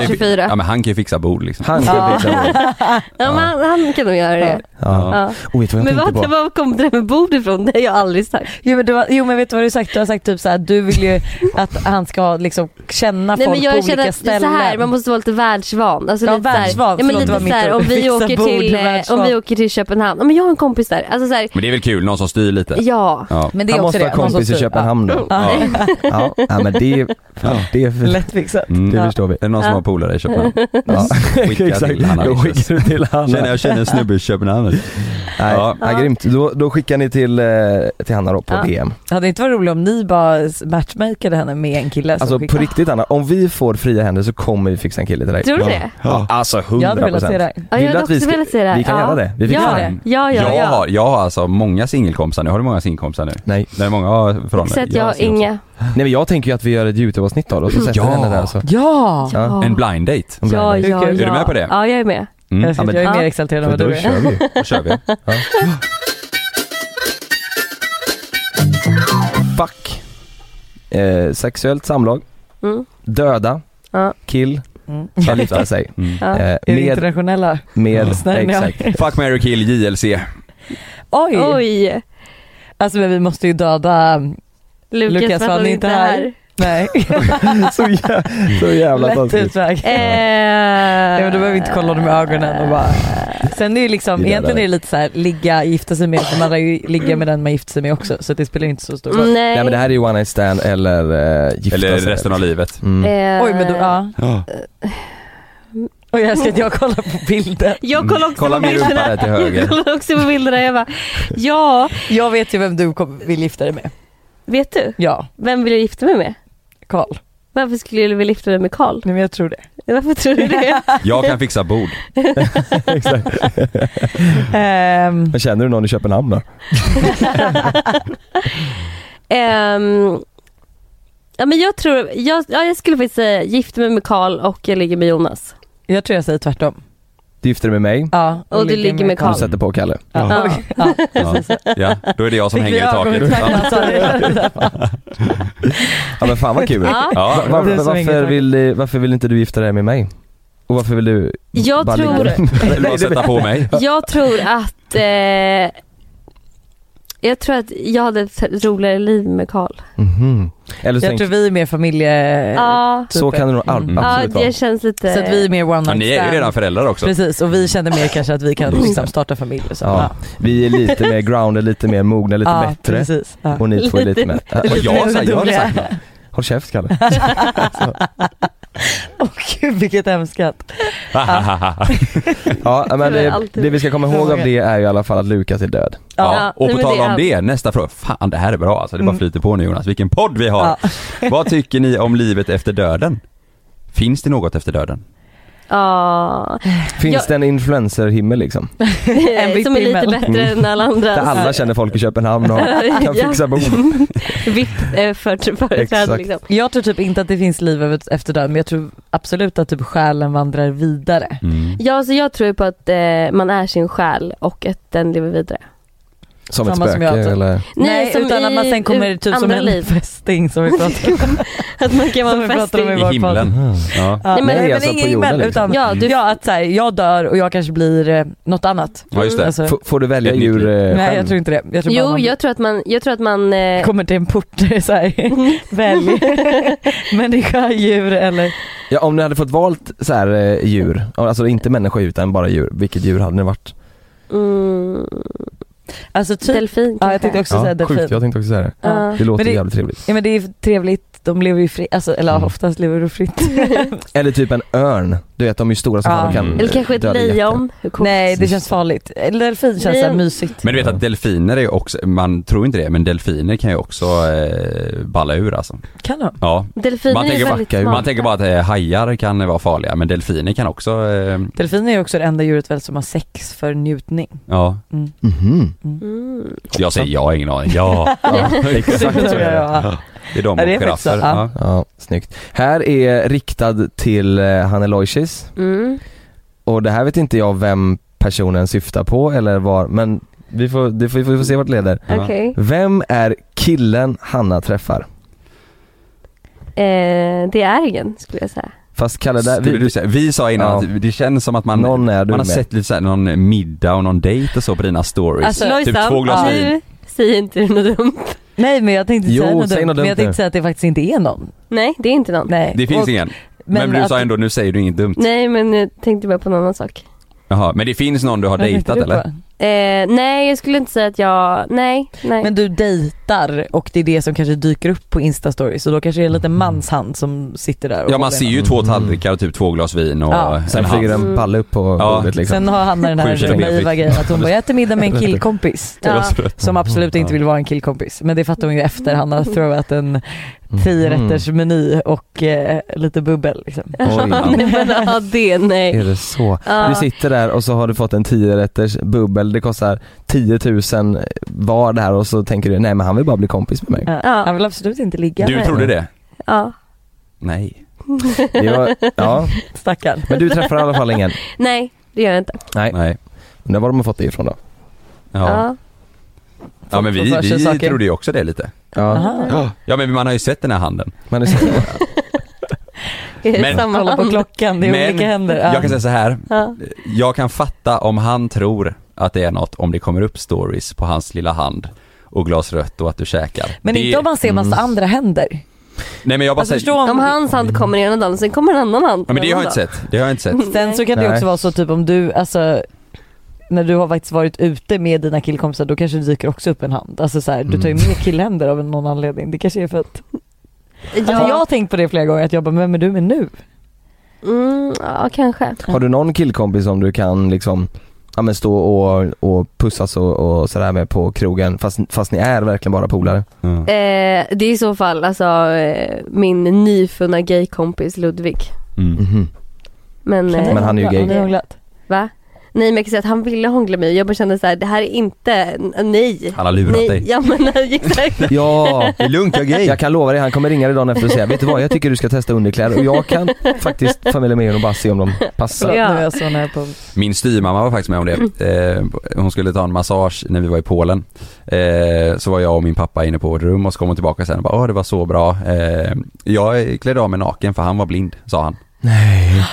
A: 22,
D: ju-
A: 24.
D: Ja men han kan ju fixa bord liksom.
B: Han ska
C: Ja.
B: fixa det.
A: Ja, men han, han kan nog göra det.
B: Ja.
A: Ja.
B: Och vet du vad jag
A: Men
B: tänkte
A: var,
B: på?
A: var kom det där med bord ifrån? Det har jag aldrig sagt.
C: Jo men, du var, jo men vet du vad du har sagt? Du har sagt typ såhär, du vill ju att han ska liksom känna
A: Nej
C: folk
A: men jag
C: på
A: känner
C: olika
A: att
C: ställen.
A: så här, man måste vara lite världsvan. Alltså
C: Ja,
A: lite så här-
C: världsvan.
A: Ja, men
C: Förlåt, det var
A: lite
C: mitt
A: så här, om,
C: ord.
A: vi
C: Fixa
A: åker
C: bord,
A: till, eh,
C: världsvan.
A: om vi åker till Köpenhamn. Ja, men jag har en kompis där. Alltså så här,
D: Men det är väl kul, någon som styr lite.
A: ja.
D: Ja.
C: men det är
B: Han
C: också
B: måste
C: det. typ-
B: ha kompis i
C: styr.
B: Köpenhamn då.
D: Ja.
B: Ja, ja men det, fan, det,
C: Ja. Lättfixat.
D: Mm.
B: det
D: Är
B: förstår vi.
D: det någon som
A: Ja.
D: har polare i Köpenhamn?
B: Ja.
D: Skicka till Hanna
B: Då
D: Lyckas.
B: skickar du till Hanna.
D: Känner jag känner en snubbe i Köpenhamn.
B: Nej,
D: Ja.
B: ja. grymt. Då, då skickar ni till, eh, till Hanna då på
A: Ja.
B: DM.
C: Hade det inte varit roligt om ni bara matchmakade henne med en kille som
B: Alltså
C: skick-
B: på riktigt Hanna, om vi får fria händer så kommer vi fixa en kille till dig.
A: Tror du det?
B: Ja. Alltså 100%.
C: Jag hade velat se det. här.
A: Ja,
B: Vill
A: jag
B: du
A: hade
B: att vi
A: också
B: ska-
A: velat se det. här.
B: vi kan
A: ja.
B: göra det. Vi fixar
A: ja.
C: det.
A: Ja, ja,
D: Jag
A: ja.
D: har, jag har alltså många singelkompisar nu. Har du många singelkompisar nu?
B: Nej.
D: Nej, många har från
A: Så att jag har
D: singelkompisar.
A: inga.
B: Nej men jag tänker ju att vi gör ett YouTube-avsnitt av det och så sätter
D: Ja.
B: vi henne där så.
C: Ja!
B: Ja.
A: Ja.
D: En blind date.
B: Hon blir
A: Ja,
B: där.
A: ja, ja.
C: Är
D: du med på det?
A: Ja, jag är med.
D: Mm.
C: Jag, vet,
B: Ja, men-
C: jag är mer
A: Ja.
C: exalterad än
B: För
C: vad
B: då
C: du är.
B: kör vi ju.
D: Då kör vi.
B: Fuck. Eh, sexuellt samlag.
A: Mm.
B: Döda.
A: Ja.
B: Kill.
C: Mm.
B: Ska lyfta sig.
D: Mm.
A: Ja.
B: Eh,
C: Är det
B: med,
C: internationella?
B: med,
C: Snälla, ja.
B: exakt.
D: Fuck, marry, kill, JLC.
C: Oj!
A: Oj,
C: Alltså men vi måste ju döda,
A: Lukas,
C: Lukas,
A: för att
C: var
A: hon
C: ni
A: inte
C: inte
A: är
C: här?
A: här.
C: nej,
B: Så, jä så jävla
C: lätt
B: taskigt.
C: utväg.
A: Eh,
C: Ja, men då behöver vi inte kolla dem i ögonen och bara... Sen är ju liksom,
B: Det där
C: egentligen
B: där.
C: är det lite så här, ligga, gifta sig med, för man lär ju ligga med den man gifter sig med också så det spelar ju inte så stor roll.
A: Nej.
B: Nej men det här är ju one night stand eller eh, gifta
D: Eller
B: sig.
D: resten av livet.
B: Mm.
A: Eh,
C: Oj men då, ja. Och jag älskar att jag kollar på bilden.
A: Jag kollar också
D: Kolla
A: på
D: min rumpa
A: bilderna.
D: där till höger.
A: Jag kollar också på bilderna. Jag bara, ja,
C: Jag vet ju vem du kom, vill gifta dig med.
A: vet du?
C: Ja,
A: Vem vill jag gifta mig med?
C: Karl.
A: Varför skulle jag vilja gifta mig med Karl?
C: Nej men jag tror det.
A: Varför tror du det?
D: Jag kan fixa bord.
A: Eh.
B: Exakt.
C: Ehm,
B: Men känner du någon i Köpenhamn då?
A: Ehm, ja, men jag tror, jag, ja, jag skulle faktiskt säga gifta mig med Karl och jag ligger med Jonas.
C: jag tror jag säger tvärtom.
B: Du gifter dig med mig,
C: Ja,
A: Och du ligger med
B: du
A: Karl.
B: sätter på Kalle.
C: Ja.
A: Ja.
C: Oj, ja.
D: Ja. ja, då är det jag som
C: Fick vi
D: hänger i taket.
C: ögonkontakt?
D: Ja.
C: Alltså, det-
B: Ja men fan vad kul.
A: Ja.
D: Ja.
B: Va-
C: Det är
B: Varför,
C: så
B: varför,
C: inget
B: vill, eh, varför vill inte du gifta dig med mig? Och varför vill du
A: Jag
B: bara ligga
A: tror-
B: med mig?
D: Vill du bara sätta på mig?
A: Jag tror att eh, Jag tror att jag hade ett roligare liv med Karl.
B: Mhm. Eller så,
C: Jag
B: tänk,
C: tror vi är mer familje...
A: Ja,
B: så kan det nog all-
C: Mm.
A: ja
B: absolut vara.
A: det känns lite...
C: Eh, Så att vi är mer one
D: Ja,
C: night
D: ni är ju
C: stand.
D: redan föräldrar också.
C: Precis, och vi kände mer kanske att vi kan liksom starta familj och så.
B: Mm. Ja. Vi är lite mer grounded, lite mer mogna, lite
C: Ja,
B: bättre.
C: Precis. Ja.
B: Och ni två är lite
A: Lite-
B: mer...
D: Och jag, har sagt- jag har sagt något.
B: Håll käft Kalle.
C: Åh gud vilket hemskt.
B: Ja men
A: Det är
B: det,
A: alltid-
B: det vi ska komma ihåg av det är ju i alla fall att Lukas är död.
D: Ja, och
A: nej,
D: på
A: men
D: tal
A: det-
D: om det, nästa fråga. Fan det här är bra alltså, det bara
C: Mm.
D: flyter på nu Jonas. Vilken podd vi har! Vad tycker ni om livet efter döden? Finns det något efter döden?
A: Ja.
B: Finns
A: Jag-
B: det en influencerhimmel liksom?
C: vipp
A: som är lite
C: himmel.
A: bättre än alla andra.
B: Där alla känner folk i Köpenhamn och
A: Ja.
B: kan fixa bord.
A: VIP eh, för företräde
B: Exakt.
A: liksom.
C: Jag tror typ inte att det finns liv över- efter döden men jag tror absolut att typ själen vandrar vidare.
A: Ja, så jag tror ju på att eh, man är sin själ och att den lever vidare.
B: Som
C: Samma
B: ett
C: som jag
B: spöke
C: tror.
B: eller?
A: som
C: utan att man
A: i-
C: sen kommer typ som
A: andra
C: en
A: liv.
C: fästing som vi pratade om.
A: Att man kan
C: Som
A: vara
C: vi
A: en
C: pratade om
A: fästing.
C: i vår
D: I
C: podd.
B: Mm.
D: himlen? Ja.
C: Ja,
A: Nej, men-
B: Nej,
C: men
B: alltså
C: ingen
B: på jorden,
C: himmel
B: liksom.
C: utan
A: Ja, du,
C: ja, att så här, jag dör och jag kanske blir eh, något annat.
D: ja, just det.
C: Alltså,
B: F- får du välja
D: Ett nytt
B: djur
D: liv.
B: eh,
C: nej jag
B: själv?
C: tror inte det. Jag tror bara
A: jo,
C: man
A: jag tror att man, jag tror att man eh,
C: kommer till en port så här, välj människa, djur eller
B: Ja, om ni hade fått valt så här eh, djur, alltså inte människa utan bara djur, vilket djur hade ni varit?
A: mm,
C: Alltså typ,
A: delfin
C: ja
A: kanske.
C: jag tänkte också säga delfin.
B: sjukt, jag tänkte också säga det.
A: Ja.
B: Det låter
C: Men det-
B: jävligt trevligt.
C: Ja men det är ju trevligt, de lever ju fritt, alltså, eller
B: Mm.
C: oftast lever de fritt.
B: Eller typ en örn, du vet de är ju stora som
C: Ja.
B: fan och kan
D: Mm.
B: eh,
A: Eller kanske ett
B: döda jätter.
A: lejon. Hur coolt?
C: Nej det
B: Just
C: känns
B: det.
C: farligt. Eller delfin känns
A: Nej,
C: såhär
A: jag-
C: mysigt.
D: Men du vet att delfiner är också, man tror inte det, men delfiner kan ju också eh, balla ur alltså.
C: Kan de?
D: Ja. Man
A: Delfiner är ju
D: tänker bara-
A: väldigt
B: man
A: smarta.
D: Man tänker bara att eh, hajar kan vara farliga, men delfiner kan också, eh,
C: Delfiner är ju också det enda djuret väl som har sex för njutning.
D: ja.
C: Mm.
B: Mhm.
A: Mm.
D: Jag säger ja, ingen aning. Ja, ja.
B: exakt så är det.
C: Ja.
D: Det är de
C: Ja, det är
D: och giraffer.
C: faktiskt så. Ja.
D: Ja.
B: Ja, snyggt. Här är riktad till eh, han Aloysius
A: Mm.
B: och det här vet inte jag vem personen syftar på eller var, men vi får, det får, vi får se vart det leder.
D: Ja.
A: Okej.
B: Vem är killen Hanna träffar?
A: Eh, det är ingen skulle jag säga.
B: Fast Kalle, där,
D: Skulle
B: vi,
D: du säga, vi sa innan
B: Ja.
D: att det känns som att man,
B: någon är du
D: man har
B: med.
D: sett lite såhär någon middag och någon dejt och så på dina stories.
C: Alltså,
D: typ två glas
C: ja.
D: vin.
A: nu säger inte du något dumt.
C: Nej men jag tänkte
B: Jo,
C: säga något
B: säg
C: dumt,
B: något
C: men
B: dumt
C: jag
B: nu.
C: tänkte säga att det faktiskt inte är någon.
A: Nej, det är inte någon.
C: Nej.
D: Det finns
C: Och-
D: ingen. Men, du
C: att-
D: sa ändå, nu säger du inget dumt.
A: Nej, men jag tänkte bara på en annan sak.
D: Jaha, men det finns någon du har
C: Vad tänkte
D: dejtat
C: du
D: eller?
C: på?
A: Eh, nej, jag skulle inte säga att jag... Nej, nej.
C: Men du dejtar och det är det som kanske dyker upp på instastories så då kanske det är en liten mans hand som sitter där och
D: Mm. Ja man
C: håller
D: ser
C: i
D: ju
B: Mm.
D: två tallrikar och typ två glas vin och
C: Ja.
D: en
B: sen
D: hand.
B: flyger en
A: Mm.
B: palle upp på
D: Ja.
B: bordet liksom.
C: Sen har han den här
D: Sju kilometer.
C: naiva grejen att hon bara jag äter middag med en killkompis. Typ.
A: Ja.
C: Som
D: Mm,
C: absolut inte vill vara en killkompis. Men det fattar hon ju efter han har throwat en
D: Mm.
B: Mm.
C: tiorätters meny och eh, lite bubbel liksom.
B: Oj.
A: nej, men, ja, det nej.
B: Mm. Är det så?
A: Ja.
B: Du sitter där och så har du fått en 10-rätters bubbel, det kostar 10 000 var det här och så tänker du nej men han vill bara bli kompis med mig.
C: Ja.
A: Ja.
C: Han vill absolut inte ligga
D: Du
C: med
D: trodde det?
A: Ja.
D: Nej.
B: Det var, ja.
C: stackaren.
B: Men du träffar i alla fall ingen?
A: Nej, det gör jag inte.
B: Nej.
D: Nej.
B: Undrar var de har fått det ifrån då?
D: Ja. Ja.
A: Ja.
D: men
C: Folk får
D: vi,
C: för sig
D: vi
C: saker.
D: trodde ju också det lite.
B: Ja.
C: Aha.
D: Ja men man har ju sett den här handen.
B: Men det,
A: Är det
D: Men-
A: samma
C: Kolla på
A: hand?
C: klockan, det är
D: Men
C: olika händer. Ja.
D: Jag kan säga så här.
A: Ja.
D: jag kan fatta om han tror att det är något om det kommer upp stories på hans lilla hand och glas rött och att du käkar.
C: Men
D: det...
C: inte om man ser massa
B: Mm.
C: andra händer.
D: Nej men jag bara
C: Alltså,
D: säger...
C: förstå om,
A: Om hans hand kommer ena dagen, sen kommer en annan hand.
D: Ja, men det har jag inte
A: en
D: sett. Det har jag inte sett.
A: annan dag.
C: Sen så kan det
B: Nej.
C: också vara så typ om du, alltså när du har faktiskt varit ute med dina killkompisar då kanske det dyker också upp en hand. Alltså så här, du tar ju
D: Mm.
C: med killhänder av någon anledning. Det kanske är för att...
A: Nej.
C: Alltså, jag har tänkt på det flera gånger att jag bara, vem är du med nu?
A: Mm, ja, kanske.
B: har du någon killkompis som du kan liksom Ja men stå och, och pussas och, och sådär med på krogen fast, fast ni är verkligen bara polare?
D: Mm.
A: Eh, det är i så fall alltså eh, min nyfunna gaykompis Ludvig.
D: Mm.
B: Mhm.
A: Men, eh,
B: Men han är ju gay.
C: Har ni hånglat?
A: va? Nej men jag kan säga att han ville hångla mig jag bara kände så här: det här är inte, n- nej.
D: Han har lurat
A: nej.
D: dig.
A: Ja men exakt.
B: Ja!
D: Det är lugnt, jag är gay.
B: Jag kan lova dig, han kommer ringa dig dagen efter och säga vet du vad, jag tycker du ska testa underkläder och jag kan faktiskt familja med och bara se om de passar.
C: Förlåt,
A: Ja.
C: nu är jag så nära på...
D: Min styrmamma var faktiskt med om det. Eh, hon skulle ta en massage när vi var i Polen. Eh, så var jag och min pappa inne på vårt rum och så kom hon tillbaka sen och bara åh det var så bra. Eh, jag klädde av mig naken för han var blind, sa han.
B: Nej.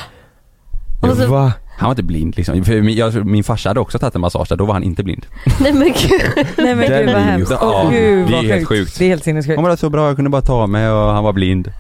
A: Och så-
B: Va?
D: Han var inte blind liksom. För min, jag, min farsa hade också tagit en massage där, då var han inte blind.
A: Nej men gud.
C: Nej men
B: Den
C: gud vad
B: är ju-
C: hemskt.
D: Ja,
C: Åh, gud,
D: det är
C: vad
D: helt sjukt.
C: Det är helt
D: Han
C: sinnessjukt.
D: var så bra, jag kunde bara ta mig och han var blind.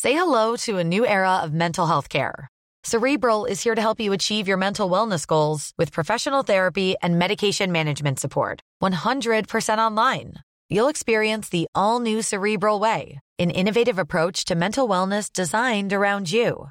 E: Say hello to a new era of mental health care. Cerebral is here to help you achieve your mental wellness goals with professional therapy and medication management support. 100% online. You'll experience the all new Cerebral Way, an innovative approach to mental wellness designed around you.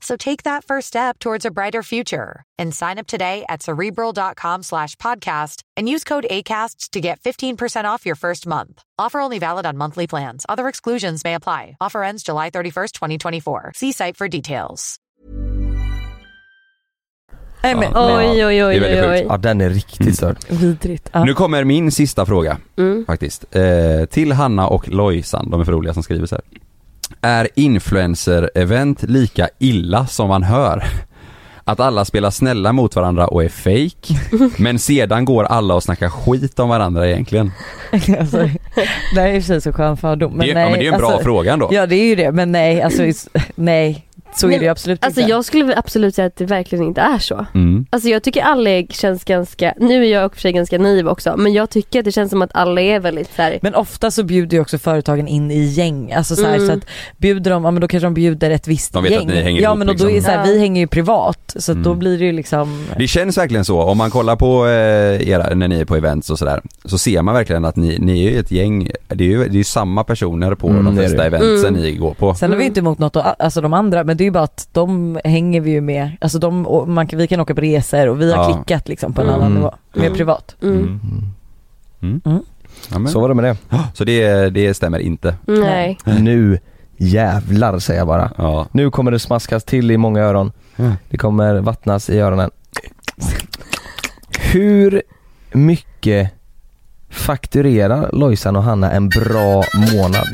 E: So take that first step towards a brighter future and sign up today at cerebral.com slash podcast and use code ACAST to get 15% off your first month. Offer only valid on monthly plans. Other exclusions may apply. Offer ends July 31st, 2024. See site for details.
C: Nej men
D: Ja.
A: Oj oj
D: Det
A: oj
D: är väldigt
A: oj. oj.
B: Ja den är riktigt störd.
C: vidrigt. Ja.
D: Nu kommer min sista fråga
A: Mm.
D: faktiskt. Eh, till Hanna och Lojsan, de är för roliga som skriver så här. Är influencer-event lika illa som man hör? Att alla spelar snälla mot varandra och är fake men sedan går alla och snackar skit om varandra egentligen.
C: alltså, det här är i och för sig så skön fördom. Men
D: det, är-
C: nej,
D: ja, men det är ju en bra
C: alltså,
D: fråga ändå.
C: Ja det är ju det, men nej alltså is- nej. Så är
A: Men,
C: det ju absolut
A: Alltså
C: inte.
A: jag skulle absolut säga att det verkligen inte är så.
D: Mm.
A: Alltså jag tycker alla är- känns ganska, nu är jag i och för sig ganska naiv också, men jag tycker att det känns som att alla är väldigt såhär,
C: Men ofta så bjuder ju också företagen in i gäng, alltså så, här,
A: Mm.
C: så att bjuder de, ja men då kanske de bjuder ett visst
D: De vet att
C: gäng.
D: ni hänger
C: ja
D: ihop,
C: men och då är det
D: liksom.
C: så här,
A: Ja.
C: vi hänger ju privat så att då
D: Mm.
C: blir det ju liksom
D: Det känns verkligen så, om man kollar på eh, era, när ni är på events och sådär, så ser man verkligen att ni, ni är ju ett gäng, det är ju, det är ju samma personer på
B: Mm,
D: de
B: det är
D: flesta
B: det.
D: eventsen
A: Mm.
D: ni går på.
C: Sen är vi ju inte emot något, och- alltså de andra, men det är ju bara att de hänger vi ju med, alltså de, och man, kan- vi kan åka på resor och vi har
D: Ja.
C: klickat liksom på en
A: Mm.
C: annan nivå, mer
A: Mm.
C: privat.
A: mm.
D: Mm.
C: Mm.
D: Ja, men.
B: Så
D: Så,
B: var det med det.
D: så det, det stämmer inte.
B: Mm.
A: nej.
B: Nu jävlar säger jag bara.
D: Ja.
B: Nu kommer det smaskas till i många öron.
D: Ja.
B: Det kommer vattnas i öronen. Hur mycket fakturerar Lojsan och Hanna en bra månad?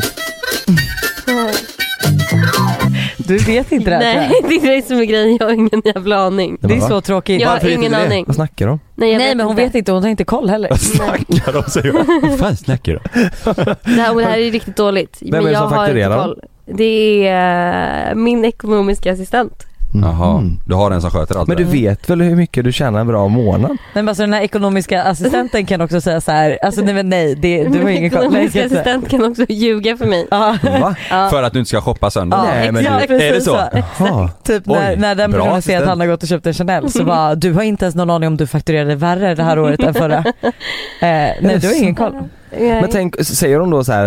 C: Du vet inte det här tror
A: Nej,
C: jag.
A: det är det som är grejen, jag har ingen jävla aning.
C: Det är
B: Men va?
C: så tråkigt.
A: Jag
D: Varför
A: har
D: vet
A: ingen
D: du det?
A: aning.
B: Vad snackar de?
A: Nej, jag
C: Nej men hon vet inte, hon har inte koll heller.
D: snackar de säger jag. Vad fan snackar de?
A: Det här, och det här är riktigt dåligt.
B: är det
A: jag
B: som fakturerar?
A: Det är eh, min ekonomiska assistent.
D: Jaha,
B: Mm.
D: du har en som sköter allt
B: Men
D: det
B: du vet väl hur mycket du tjänar en bra månad?
C: Nej men alltså den här ekonomiska assistenten kan också säga så här, alltså nej men nej, det, du har
A: min
C: ingen koll. Nej,
A: ekonomiska
C: jag ska inte-
A: assistent kan också ljuga för mig.
C: Ja.
B: Va?
D: där. För att du inte ska shoppa sönder
C: Ja,
D: det.
B: Nej, men
C: exakt,
D: du- är det
C: precis
D: så?
B: Jaha.
C: Typ
D: Oj,
C: när, när den
D: bra
C: personen ser att
D: assistent.
C: han har gått och köpt en Chanel så bara, du har inte ens någon aning om du fakturerade värre det här året än förra. Eh, nej
B: det
C: du har ingen koll.
A: Nej.
B: Men tänk, säger de då så här,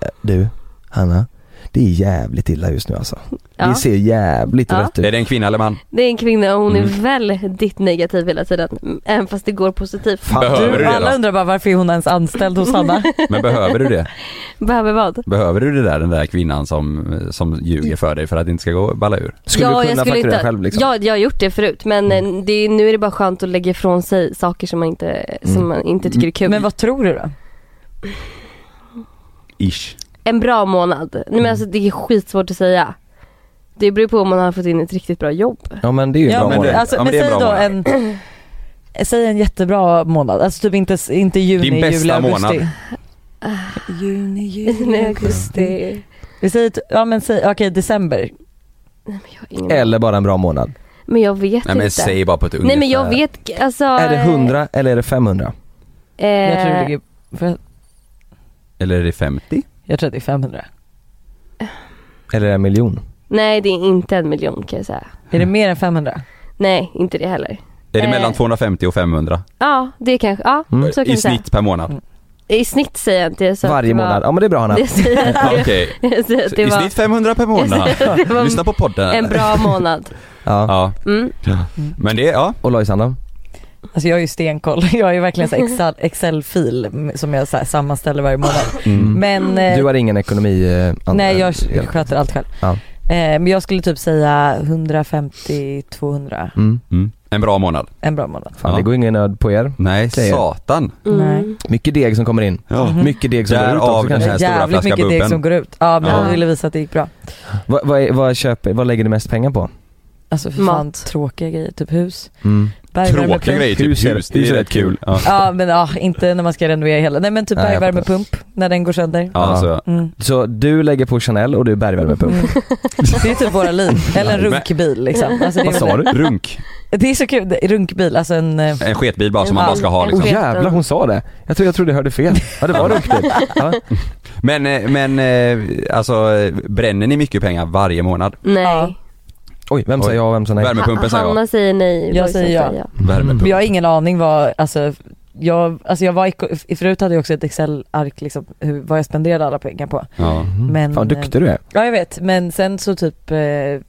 B: "Eh, Du, Hanna, det är jävligt illa just nu alltså.
A: ja.
B: Det ser jävligt
A: Ja.
B: rött ut.
D: Är det en kvinna eller man?
A: Det är en kvinna och hon är
D: Mm.
A: väldigt negativ hela tiden. Även fast det går positivt.
B: Fan,
D: Behöver
C: Du,
D: du
C: alla
D: det
C: undrar bara varför är hon ens anställd hos Hanna?
D: då? Men behöver du det?
A: Behöver vad?
D: Behöver du det där, den där kvinnan som, som ljuger för dig för att det inte ska gå balla ur?
B: Skulle
A: Ja,
B: du
A: jag
B: kunna
A: skulle
B: fakturera
A: inte-
B: själv liksom?
A: Ja, jag har gjort det förut men eh, det, är- nu är det bara skönt att lägga ifrån sig saker som man inte, som
B: Mm.
A: man inte tycker är kul.
C: Men vad tror du då?
D: Ish.
A: En bra månad. Nej, men alltså, det är skitsvårt att säga. Det beror på om man har fått in ett riktigt bra jobb.
B: Ja men det är ju en bra
D: men
B: månad.
D: det-
C: alltså,
D: ja,
C: men
D: men det är
C: säg
D: en
C: då
D: bra
C: en, säg en jättebra månad, alltså typ inte, inte juni,
D: Din bästa
C: juli, augusti.
D: månad.
C: Ah, Juni,
A: Nej,
C: juli, augusti.
A: augusti.
C: Vi säger, t- ja men säg, okej december.
A: Nej, men, jag har ingen
B: Eller bara en bra månad.
A: men jag vet
D: Nej men
A: inte.
D: säg bara på ett ungefär.
A: Nej men jag vet alltså.
B: Är det 100 eller är det 500?
A: Eh,
C: Jag tror det ligger, får jag-
D: Eller är det 50?
C: jag tror att det är 500.
B: Eller är det en miljon?
A: Nej det är inte en miljon kan jag säga.
C: Är
D: Mm.
C: det mer än 500?
A: Nej inte det heller.
D: Är det
A: Eh.
D: mellan 250 och 500?
A: Ja det kanske, ja
B: Mm.
A: så kan
D: I
A: vi säga.
D: snitt per månad?
A: I snitt säger jag inte. Så att
B: Varje
A: det var-
B: månad? Ja men det är bra Hanna.
A: Det säger jag
D: Ja,
A: inte.
D: Okej.
A: Jag säger att det
D: I
A: var
D: snitt 500 per månad.
A: det var
D: Lyssna på podden.
A: en bra månad.
B: Ja.
D: Ja,
A: Mm.
D: men det, ja.
B: Och Lojsan då?
C: Alltså jag har ju stenkoll, jag har ju verkligen så här Excel- Excel-fil som jag så här sammanställer varje månad.
D: Mm.
C: Men eh,
B: Du har ingen ekonomi? Eh, an-
C: nej jag
B: eh,
C: sköter allt själv.
B: Ja.
C: Eh, men jag skulle typ säga 150-200.
B: Mm.
D: Mm. En bra månad.
C: En bra månad.
B: Fan
D: Ja.
B: det går ingen nöd på er.
D: Nej,
B: Säger.
D: satan.
A: Mm.
B: Mycket deg som kommer in.
D: Ja.
C: Mhm.
B: Mycket deg som går ut
D: Därav
B: också
D: den
B: kanske.
D: här stora
C: Jävligt
D: flaska
C: mycket deg som
D: bubbel.
C: går ut. Ja men
D: Ja.
C: vi ville visa att det gick bra.
B: Vad, vad, är- vad, köper, vad lägger du mest pengar på?
C: Alltså för fan
A: Mat.
C: tråkiga grejer, typ hus.
B: Mm.
C: Bergvärmepump.
D: Tråkiga grejer,
B: Hus
D: typ
B: är-
D: hus. Det
B: hus
D: är
B: är
D: rätt kul. Ja,
C: Ja men ja, inte när man ska renovera hela. Nej men typ
B: Nej, jag
C: bergvärmepump när den går sönder.
D: ja alltså.
C: Mm.
B: Så du lägger på Chanel och du bergvärmepump.
C: Mm. Det är typ våra liv. Eller en runkbil liksom. Alltså, det, är
B: Vad sa
C: väl-
B: du?
D: Runk.
C: det är så kul, Det- runkbil, alltså en eh,
D: En sketbil bara som man bara ska ha liksom.
B: Oh, jävlar hon sa det. Jag tror jag trodde jag hörde fel. Ja det var runkbil. Ja.
D: Men, eh, men eh, alltså eh, bränner ni mycket pengar varje månad?
A: Nej.
C: Ja.
B: Oj, vem sa
D: Oj.
B: ja och vem sa nej?
D: Värme- Värmepumpen
A: Ha-
D: säger jag.
A: Hanna säger nej.
C: Jag
A: Boysen
C: säger ja.
B: Mm.
D: Värmepump.
C: Men jag har ingen aning vad, alltså jag, alltså jag var, eko- förut hade jag också ett excel-ark liksom, hur, vad jag spenderade alla pengar på.
D: Ja.
C: Men, eh,
B: Fan duktig du är.
C: Ja jag vet, men sen så typ eh,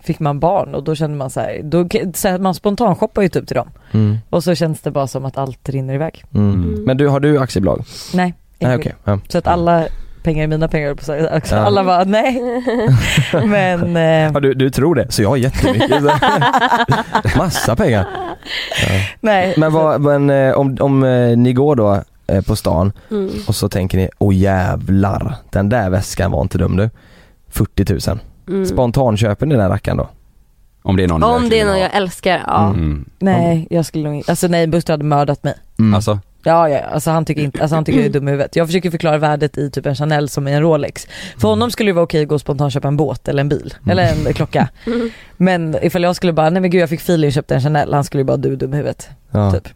C: fick man barn och då kände man så här, då, så här man spontanshoppar ju typ till dem.
B: Mm.
C: Och så känns det bara som att allt rinner iväg.
B: Mm. Men du, har du aktiebolag?
C: Nej,
B: Nej
C: inte.
B: okej. Ja.
C: Så att alla pengar är mina pengar höll jag på att säga. också.
B: Ja.
C: Alla bara nej. men eh,
B: Ja, du, du tror det, så jag har jättemycket. Massa pengar.
C: nej.
B: Men, vad, men eh, om, om eh, ni går då eh, på stan
A: Mm.
B: och så tänker ni, åh jävlar, den där väskan var inte dum du. 40 000.
A: Mm.
B: Spontan köper ni den rackaren då?
D: Om det är någon ni
A: Om det är
D: verkligen
A: någon
D: har.
A: jag älskar, ja.
D: Mm.
C: Nej jag skulle nog inte, alltså nej Buster hade mördat mig.
B: Mm.
D: Alltså,
C: Ja, ja alltså han tycker inte, alltså han tycker jag är dum i huvudet. Jag försöker förklara värdet i typ en Chanel som är en Rolex. För honom skulle det vara okej att gå och spontant köpa en båt eller en bil,
B: Mm.
C: eller en klocka.
D: Mm.
C: Men ifall jag skulle bara, nej men gud jag fick feeling och köpte en Chanel, han skulle ju bara du är dum i huvudet.
B: Ja.
C: Typ.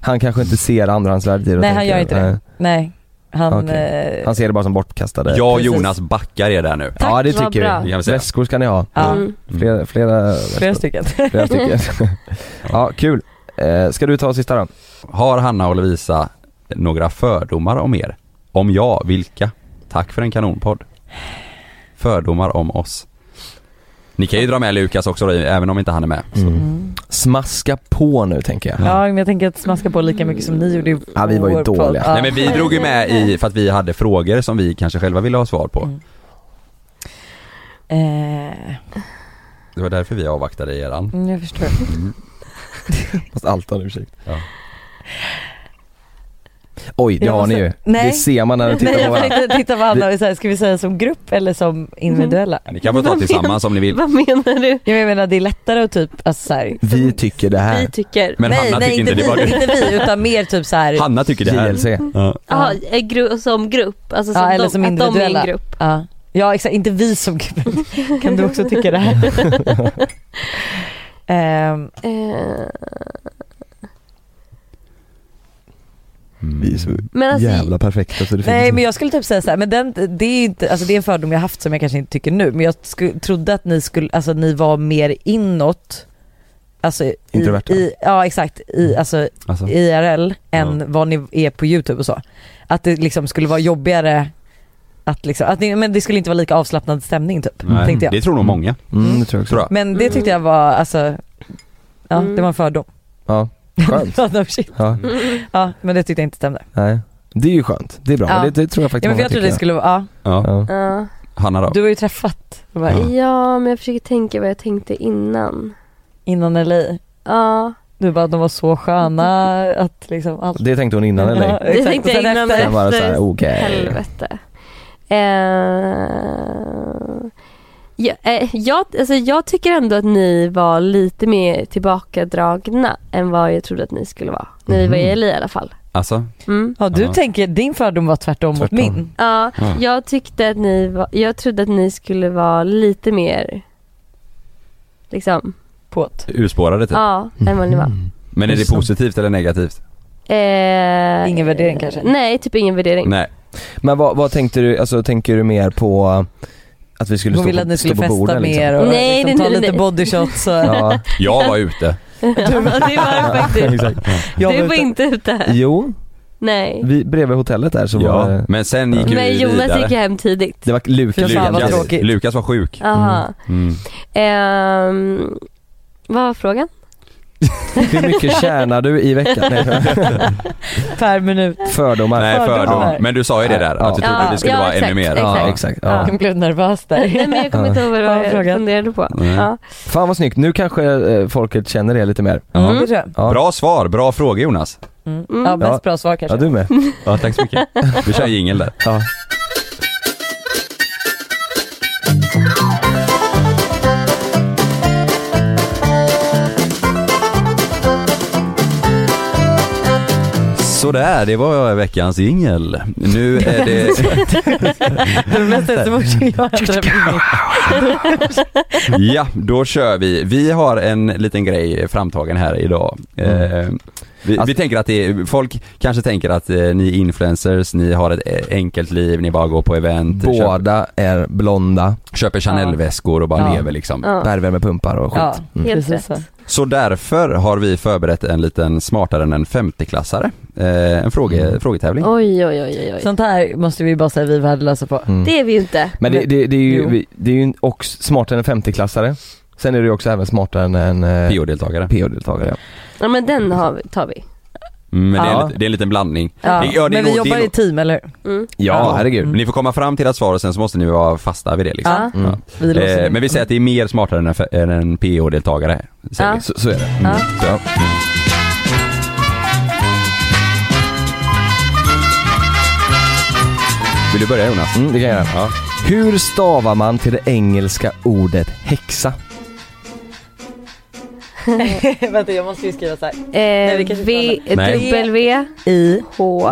B: Han kanske inte ser andrahandsvärdet i det och
C: Nej han
B: tänker,
C: gör inte det.
B: eh,
C: Nej. Han,
B: Okej.
C: eh,
B: Han ser det bara som bortkastade.
D: jag och
C: Precis.
D: Jonas backar er där nu.
C: Tack,
B: ja det
A: vad bra.
B: tycker
D: Det
B: vi.
D: kan vi säga.
B: Väskor ska ni ha.
C: ja,
A: Mm.
B: Flera, flera,
C: flera
B: väskor.
C: stycken.
B: flera stycken. ja kul. Eh, ska du ta sista då?
D: Har Hanna och Lovisa några fördomar om er? Om ja, vilka? Tack för en kanonpodd. Fördomar om oss. Ni kan ju dra med Lukas också då, även om inte han är med. Så.
C: Mm.
B: Smaska på nu tänker jag.
C: Ja men jag tänker att smaska på lika mycket som ni gjorde i
B: Ja, vi var ju
C: vår podd.
B: dåliga.
C: Ja.
D: Nej men vi drog ju med i, för att vi hade frågor som vi kanske själva ville ha svar på.
C: Mm. Eh,
D: Det var därför vi avvaktade eran.
C: mm, jag förstår.
D: Mm.
B: Fast allt har en ursäkt.
D: Ja.
B: Oj, det
C: Jag
B: har ni
C: måste-
B: ju.
C: Nej.
B: Det ser man när du
C: Nej
B: tittar på
C: jag
B: varandra.
C: tänkte titta på Anna och säga, ska vi säga som grupp eller som individuella?
D: Ja, Ni kan få ta tillsammans om ni vill.
A: Vad menar du?
C: Ja, men jag menar det är lättare att typ, alltså så här,
B: Vi tycker det
A: Vi
B: här.
A: tycker...
D: Men
C: nej,
D: Hanna
C: nej
D: tycker inte
C: vi,
D: det var
C: inte vi utan mer typ så här,
D: Hanna tycker det här.
B: JLC.
C: Mm.
D: Ja.
A: Aha, eh, gru- som grupp, alltså som
C: ja, eller som
A: de, att de är
C: individuella.
A: en grupp.
C: Ja, ja exakt, inte vi som grupp. kan du också tycka det här? Ehm,
A: Eh,
D: Mm.
B: Vi är så
A: men alltså,
B: perfekta så det
C: nej men jag skulle typ säga så här, men den, det är ju inte, alltså det är en fördom jag haft som jag kanske inte tycker nu men jag sku, trodde att ni skulle, alltså ni var mer inåt Alltså i,
B: Introverta.
C: i, ja exakt, i, alltså
D: Alltså.
C: IRL än
D: Ja.
C: vad ni är på YouTube och så. Att det liksom skulle vara jobbigare att liksom, att ni, men det skulle inte vara lika avslappnad stämning typ,
D: Nej,
C: tänkte jag.
D: det tror nog många.
B: Mm, det tror jag också.
D: Tror jag.
C: Men det tyckte jag var alltså, ja
A: Mm.
C: det var en fördom.
B: Ja, skönt.
C: Ja, no shit.
B: Ja,
C: ja men det tyckte jag inte stämde.
B: nej. Det är ju skönt. Det är bra.
C: Ja.
B: Det, det tror jag
C: Ja,
B: faktiskt
C: men för jag trodde det skulle vara, ja,
D: Ja.
B: Ja.
A: ja.
D: Hanna då?
C: du har ju träffat det var
D: Ja.
A: ja, men jag försöker tänka vad jag tänkte innan.
C: innan LA.
A: Ja,
C: Du bara de var så sköna att liksom allt.
B: Det tänkte hon innan eller?
A: det tänkte jag innan.
B: Sen var det så här,
A: efter-
B: okej.
A: Helvete. Eh, ja, eh, jag, alltså jag tycker ändå att ni var lite mer tillbakadragna än vad jag trodde att ni skulle vara. När vi var i
B: Mhm.
A: LA i alla fall.
D: Alltså?
A: Mm.
C: Ja du
D: Ja.
C: tänker, din fördom var tvärtom,
B: Tvärtom.
C: mot min.
A: Ja,
D: Ja.
A: jag tyckte att ni var, jag trodde att ni skulle vara lite mer liksom,
C: Påt.
D: Urspårade typ.
A: ja, än vad ni
B: Mhm.
A: var.
D: Men är det positivt eller negativt?
A: Eh,
C: Ingen värdering kanske?
A: Nej, typ ingen värdering.
D: Nej.
B: Men vad, vad tänkte du, alltså tänker du mer på att vi skulle
C: Hon
B: stå
C: ville
B: på,
C: att ni
B: stå
C: skulle
B: på
C: festa
B: borden liksom?
C: mer och
A: Nej,
C: liksom,
A: nej,
C: ta
A: nej,
C: lite
A: nej.
C: bodyshots och
B: Ja,
D: Jag var ute.
A: ja, det var det faktiskt.
B: exakt.
C: Jag
A: Du
C: var
A: var
C: ute.
A: inte ute.
B: Jo,
A: Nej.
B: vi, bredvid hotellet där så var
D: Ja.
B: det,
D: Men sen gick vi
A: Men Jonas
D: vidare.
A: gick ju hem tidigt.
B: det var Lukas.
C: Fy fan, vad
B: Lukas.
C: tråkigt.
D: Mm. Lukas var sjuk.
A: Aha.
D: Mm.
A: Ehm, vad var frågan?
B: Hur mycket tjänar du i veckan? Nej,
C: per minut.
B: fördomar.
D: Nej fördomar.
C: Fördomar.
D: Men du sa ju det där,
B: Ja.
D: att du trodde
A: Ja,
D: det skulle
A: ja,
D: vara
A: exakt,
D: ännu mer.
A: exakt.
B: Ja,
D: Ja.
B: exakt. Ja.
C: Jag blev nervös
A: Nej
C: där.
A: men jag kommer inte ihåg vad det
C: Bra
A: var jag
C: fråga.
A: funderade på.
D: Nej.
A: Ja.
B: Fan vad snyggt, nu kanske eh, folket känner det lite mer.
A: Mm.
D: Ja.
C: Det tror jag.
B: Ja,
D: Bra svar, bra fråga Jonas.
C: Mm. Ja, bäst
B: Ja.
C: bra svar
B: ja
C: kanske.
B: du med.
D: Ja, tack så mycket. Vi kör en jingel där.
B: Ja.
D: Sådär, det var veckans jingel. Nu är det...
C: Det mesta är så fort jag ändrar mig.
D: Ja, då kör vi. Vi har en liten grej framtagen här idag. Eh, vi,
B: Alltså-
D: vi tänker att det är, folk kanske tänker att eh, ni är influencers, ni har ett eh, enkelt liv, ni bara går på event, köper,
B: Båda är blonda,
D: köper Chanel-väskor och bara
C: Ja.
D: lever liksom.
A: Ja.
B: värmepumpar och skit.
C: Ja,
B: Mm.
A: Helt
C: precis
A: rätt.
C: så.
D: Så därför har vi förberett en liten smartare än en 50-klassare. Eh, en fråge,
B: Mm.
D: frågetävling.
A: Oj, oj, oj, oj. oj.
C: Sånt här måste vi bara säga vi är värdelösa på.
B: Mm.
A: Det är vi ju inte.
B: Men det, det, det är ju,
C: Jo.
B: vi- det är ju en- också smartare än en 50-klassare. Sen är det ju också även smartare än en eh,
D: PO-deltagare.
B: PO-deltagare.
A: Ja, men den har vi, tar vi.
D: Mm, men det, är
B: Ja.
D: en, lit- det är en liten blandning.
C: Ja.
D: Det- ja, det
C: men
D: är
C: vi
D: nog- det är
C: jobbar i
D: nog-
C: team eller hur?
A: Mm.
B: Ja,
D: Ja.
B: herregud.
D: Ni får komma fram till ert svar och sen så måste ni vara fasta vid det liksom.
C: Ja.
B: Mm.
C: Vi låser
D: Eh,
C: in.
D: men vi säger att det är mer smartare än en, fe- än en PO-deltagare. säger
A: Ja.
D: vi.
B: Så, så är det. Mm.
A: Ja.
B: Ja.
D: Mm. Vill du börja Jonas?
B: Mm, det kan jag göra.
D: Ja.
B: Hur stavar man till det engelska ordet häxa?
C: Vänta jag måste ju skriva så här.
A: Eh,
C: vi kanske
A: v,
D: Nej.
A: W,
C: I,
A: H,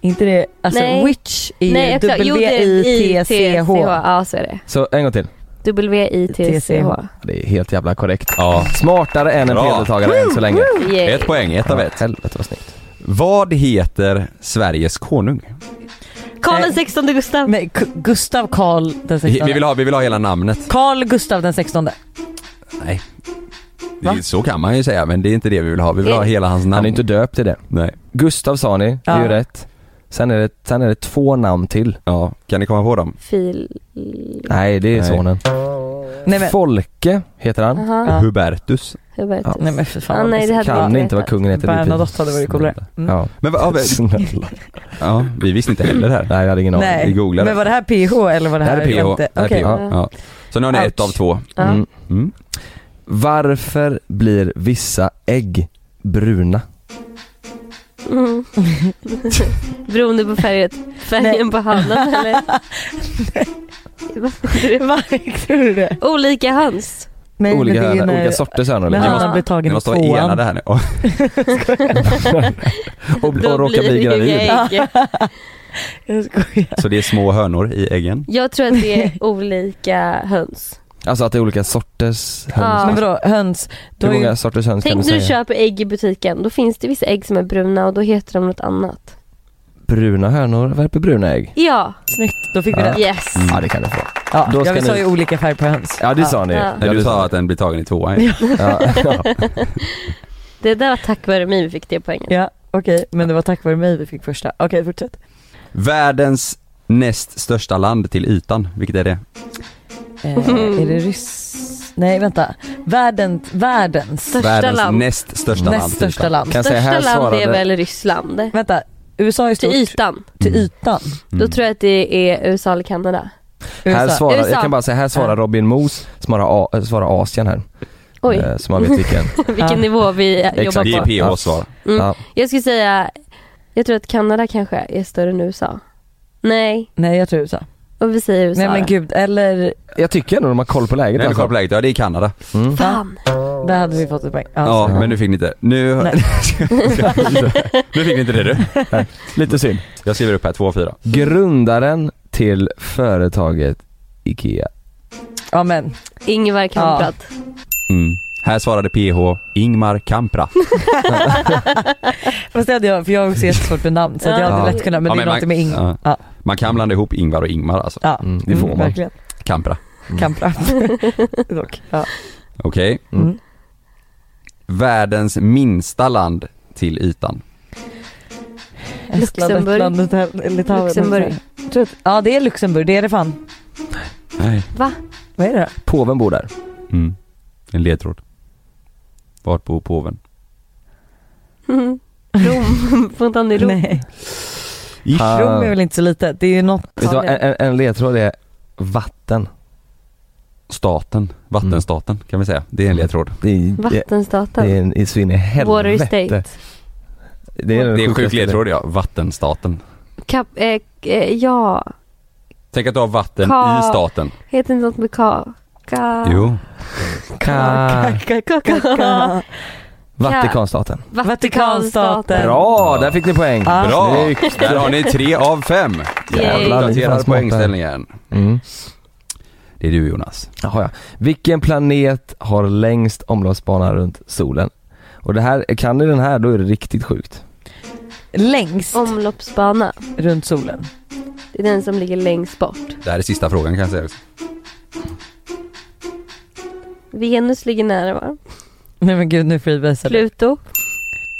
C: inte det, alltså
A: Nej.
C: witch är ju
A: exakt. Jo, det är
C: W-I-T-C-H.
A: Ja, så är det.
B: Så en gång till.
A: W-I-T-C-H.
B: Ja, Det är helt jävla korrekt.
D: ja.
B: Smartare än en
D: Bra.
B: PO-deltagare än så länge.
A: Yay.
D: Ett poäng, ett av ett.
B: Helvete vad snyggt.
D: Vad heter Sveriges konung?
A: Karl den
C: Nej.
A: 16 Gustav.
C: Men K- Gustav Karl den
D: Vi vi vill
C: 16.
D: ha, vi vill ha hela namnet.
C: Karl Gustav den 16.
D: Nej.
C: Va?
D: Det- Så kan man ju säga men det är inte det vi vill ha. Vi vill ha
A: Eh.
D: hela hans
B: Han
D: namn.
B: är inte döpt till det.
D: Nej.
B: Gustav sa ni, det är ju
C: Ja.
B: rätt. Sen är, det, sen är det två namn till.
D: Ja, kan ni komma på dem?
A: Fil...
B: Nej, det är
D: Nej.
B: sonen.
C: Nej men,
B: Folke heter han.
A: Aha.
D: Hubertus.
A: Hubertus.
C: nej men för
A: Ah,
C: fan.
A: nej, det hade
B: kan
A: vi
B: inte vad
A: vetat.
B: kungen heter. det är pinsamt.
C: Bernadotte hade varit coolare. Mm.
B: Ja.
D: Men vad- ja, vi-
B: Snälla.
D: ja, vi visste inte heller det här.
B: Nej, jag hade ingen aning.
D: vi
C: Nej,
D: googlar
C: men var det här PH eller var det
D: Det här
C: här
D: är PH.
C: femte?
D: Det här är
C: Okej.
D: PH. Ja. Så nu har ni ett
C: Ouch.
D: av två.
A: Ja.
B: Mm.
D: Mm.
B: Varför blir vissa ägg bruna?
A: Mm. Beroende på färgen, färgen
C: Nej.
A: på handen eller?
C: Vad tror du det?
A: Olika höns.
C: Nej, men
B: olika,
C: det är ju
B: hörnor,
C: när-
B: olika sorter så här nu,
C: Men
B: liksom.
A: Ja.
C: han har blivit
D: Ni
C: tagen i
D: måste vara enade
C: tvåan.
D: här nu. Ja.
B: och, och råkar bli gravid.
A: gravid.
C: Jag skojar.
D: Så det är små hönor i äggen.
A: Jag tror att det är olika höns.
B: Alltså att det är olika sorters
A: Ja.
B: höns.
C: Men vadå, höns? Då
B: Hur
C: är ju,
B: många sorters höns kan du
A: Tänk när
B: säga?
A: du köper ägg i butiken, då finns det vissa ägg som är bruna och då heter de något annat.
B: Bruna hönor värper bruna ägg.
A: Ja,
C: snyggt, då fick vi
B: Ja.
C: det.
A: yes.
B: Ja det kan du få.
C: Ja,
B: Då ska
C: jag sa
B: ni-
C: ju olika färg på höns.
B: Ja det sa ni.
A: Ja.
D: Nej,
B: det
D: du sa att den blir tagen i tvåan. ju.
B: Ja, ja.
A: Det där var tack vare mig vi fick det poängen.
C: Ja, okej, men det var tack vare mig vi fick första. Okej, fortsätt.
D: Världens näst största land till ytan, vilket är det?
C: Eh,
A: Mm.
C: är det ryss? Nej, vänta. Världen, världens
A: Största
D: Världens
A: land.
D: näst största land
C: näst
D: till
C: största
D: ytan.
C: land.
B: Kan jag säga
A: Största
B: här
A: land är
B: svarade...
A: väl Ryssland.
C: Vänta, USA är
A: Till
C: stort
A: ytan.
C: till ytan.
D: Mm.
B: Mm.
A: Då tror jag att det är USA eller Kanada.
B: Här
C: USA.
B: svarar,
A: USA.
B: jag kan bara säga, här svarar Robin Moos, svarar, A, äh, svarar Asien här.
A: Oj,
B: Eh, Så man vet vilken.
C: Mm.
A: vilken
C: Ja.
A: nivå vi eh,
B: Exakt.
D: Det
A: jobbar
D: är
A: på.
D: PHs svar.
A: Mm.
B: Ja.
A: Jag skulle säga, jag tror att Kanada kanske är större än USA. Nej,
C: Nej, jag tror USA.
A: och vi säger USA
C: Nej men
A: då.
C: gud, eller...
B: Jag tycker ändå de har koll på läget
D: Nu har du koll på
B: alltså.
D: läget, ja det är Kanada.
B: Mm.
A: Fan.
C: Där hade vi fått ett poäng. Ja,
D: Ja,
B: så-
D: men nu fick ni inte. Nu...
C: Nej.
D: nu fick ni inte det du.
B: Lite synd.
D: Jag skriver upp här, två och fyra.
B: Grundaren till företaget IKEA.
C: ja men.
A: Ingvar Kamprad.
D: Mm. Här svarade PH Ingmar Kamprad.
C: Fast det hade jag, för jag har också jättesvårt med namn så att jag hade
B: Ja.
C: lätt kunnat, men
D: Ja,
C: det är
D: man-
C: någonting med ing.
D: ja.
C: Ja.
D: Man kan blanda ihop Ingvar och Ingmar alltså.
C: Ja,
B: Mm, det får
C: mm,
B: man.
C: verkligen.
D: Kamprad.
C: Kampra. Dock. Ja.
D: Okej.
C: Mm.
D: Världens minsta land till ytan.
C: Estland,
A: Luxemburg.
C: Lettland, Lita- Litauen.
A: Luxemburg.
C: Jag tror att- Ja det är Luxemburg, det är det fan.
D: Nej.
A: Va?
C: Vad är det då?
B: Påven bor där.
D: Mm. En ledtråd. Vart bor påven?
A: Mm. Rom, fontan i Rom.
C: Nej.
B: Ah.
C: Rom är väl inte så litet? Det är ju något...
B: Vet du vad, en, en- en ledtråd är vatten.
D: Staten, vattenstaten kan vi säga. Mm. Det är en ledtråd.
B: Det är, det, det
A: Vattenstaten.
B: är en i svin i helvete.
A: Water State.
B: Det
D: Det
B: den
D: är en sjuk
B: sjukaste
D: ledtråd ja, vattenstaten.
A: Kap, eh, eh, ja,
D: Tänk att du har vatten
A: Ka-
D: i staten.
A: heter inte något med K? Ka.
D: Jo.
B: Ka-
A: Kaka.
B: Vatikanstaten.
C: Vatikanstaten.
B: Bra, där fick ni poäng.
C: Ah.
D: Bra!
B: Snyggt.
D: Där har ni tre av fem.
A: Jävlar,
B: ni är fan
D: Uppdaterar
B: smarta.
D: poängställningen.
B: Mm.
D: Det är du Jonas.
B: Jaha, ja. Vilken planet har längst omloppsbana runt solen? Och det här, kan ni den här då är det riktigt sjukt.
C: Längst
A: Omloppsbana.
C: runt solen.
A: Det är den som ligger längst bort.
D: Det här är sista frågan kan jag säga. också.
A: Venus ligger nära va?
C: Nej men gud nu freebasar du.
A: Pluto.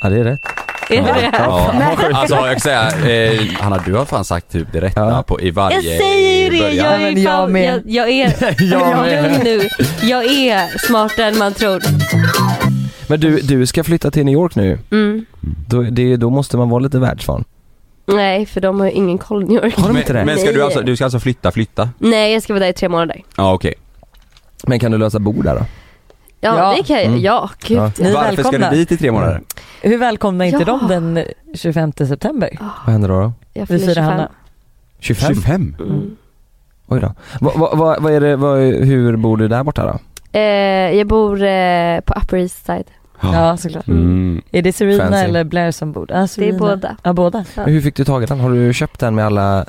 B: Ja det är rätt.
A: Är det det?
D: Ja. Alltså jag kan säga, eh, Hanna du har fan sagt typ det rätta
B: Ja.
D: på, i
A: Jag
D: varje
A: säger ju det!
D: början.
A: Jag
C: Ja,
A: är,
C: men jag
A: fan,
C: med.
A: jag, jag är... Lugn nu. Jag är smartare än man tror.
B: Men du, du ska flytta till New York nu.
A: Mm.
B: Då, det, då måste man vara lite världsvan.
A: Nej, för de har ju ingen koll i New York.
B: Har de inte det?
D: Men, men ska du
A: Nej.
D: alltså, du ska alltså flytta, flytta?
A: Nej, jag ska vara där i tre månader.
D: Ja okej.
B: Men kan du lösa bord där då?
A: Ja,
C: Ja.
A: det kan jag.
B: Mm.
A: Ja, gud.
B: Ja.
C: Ni är
D: Varför
C: välkomna.
D: ska du dit i tre månader?
C: Hur välkomnar inte
A: Ja.
C: de den 25 september?
B: Vad händer då? då?
A: Jag
C: Vi
A: fyller
C: firar
A: 25.
C: Hanna.
B: 25?
A: Mm.
B: Oj då. Va, va, va, vad är det, vad, hur bor du där borta då?
A: Eh, jag bor eh, på Upper East Side.
C: Ja såklart.
D: Mm.
C: Är det Serena
B: Fancy.
C: eller Blair som bor där? Ah,
A: Det är
C: Serena.
A: båda.
C: Ja båda.
B: Men hur fick du tag i den? Har du köpt den med alla eh,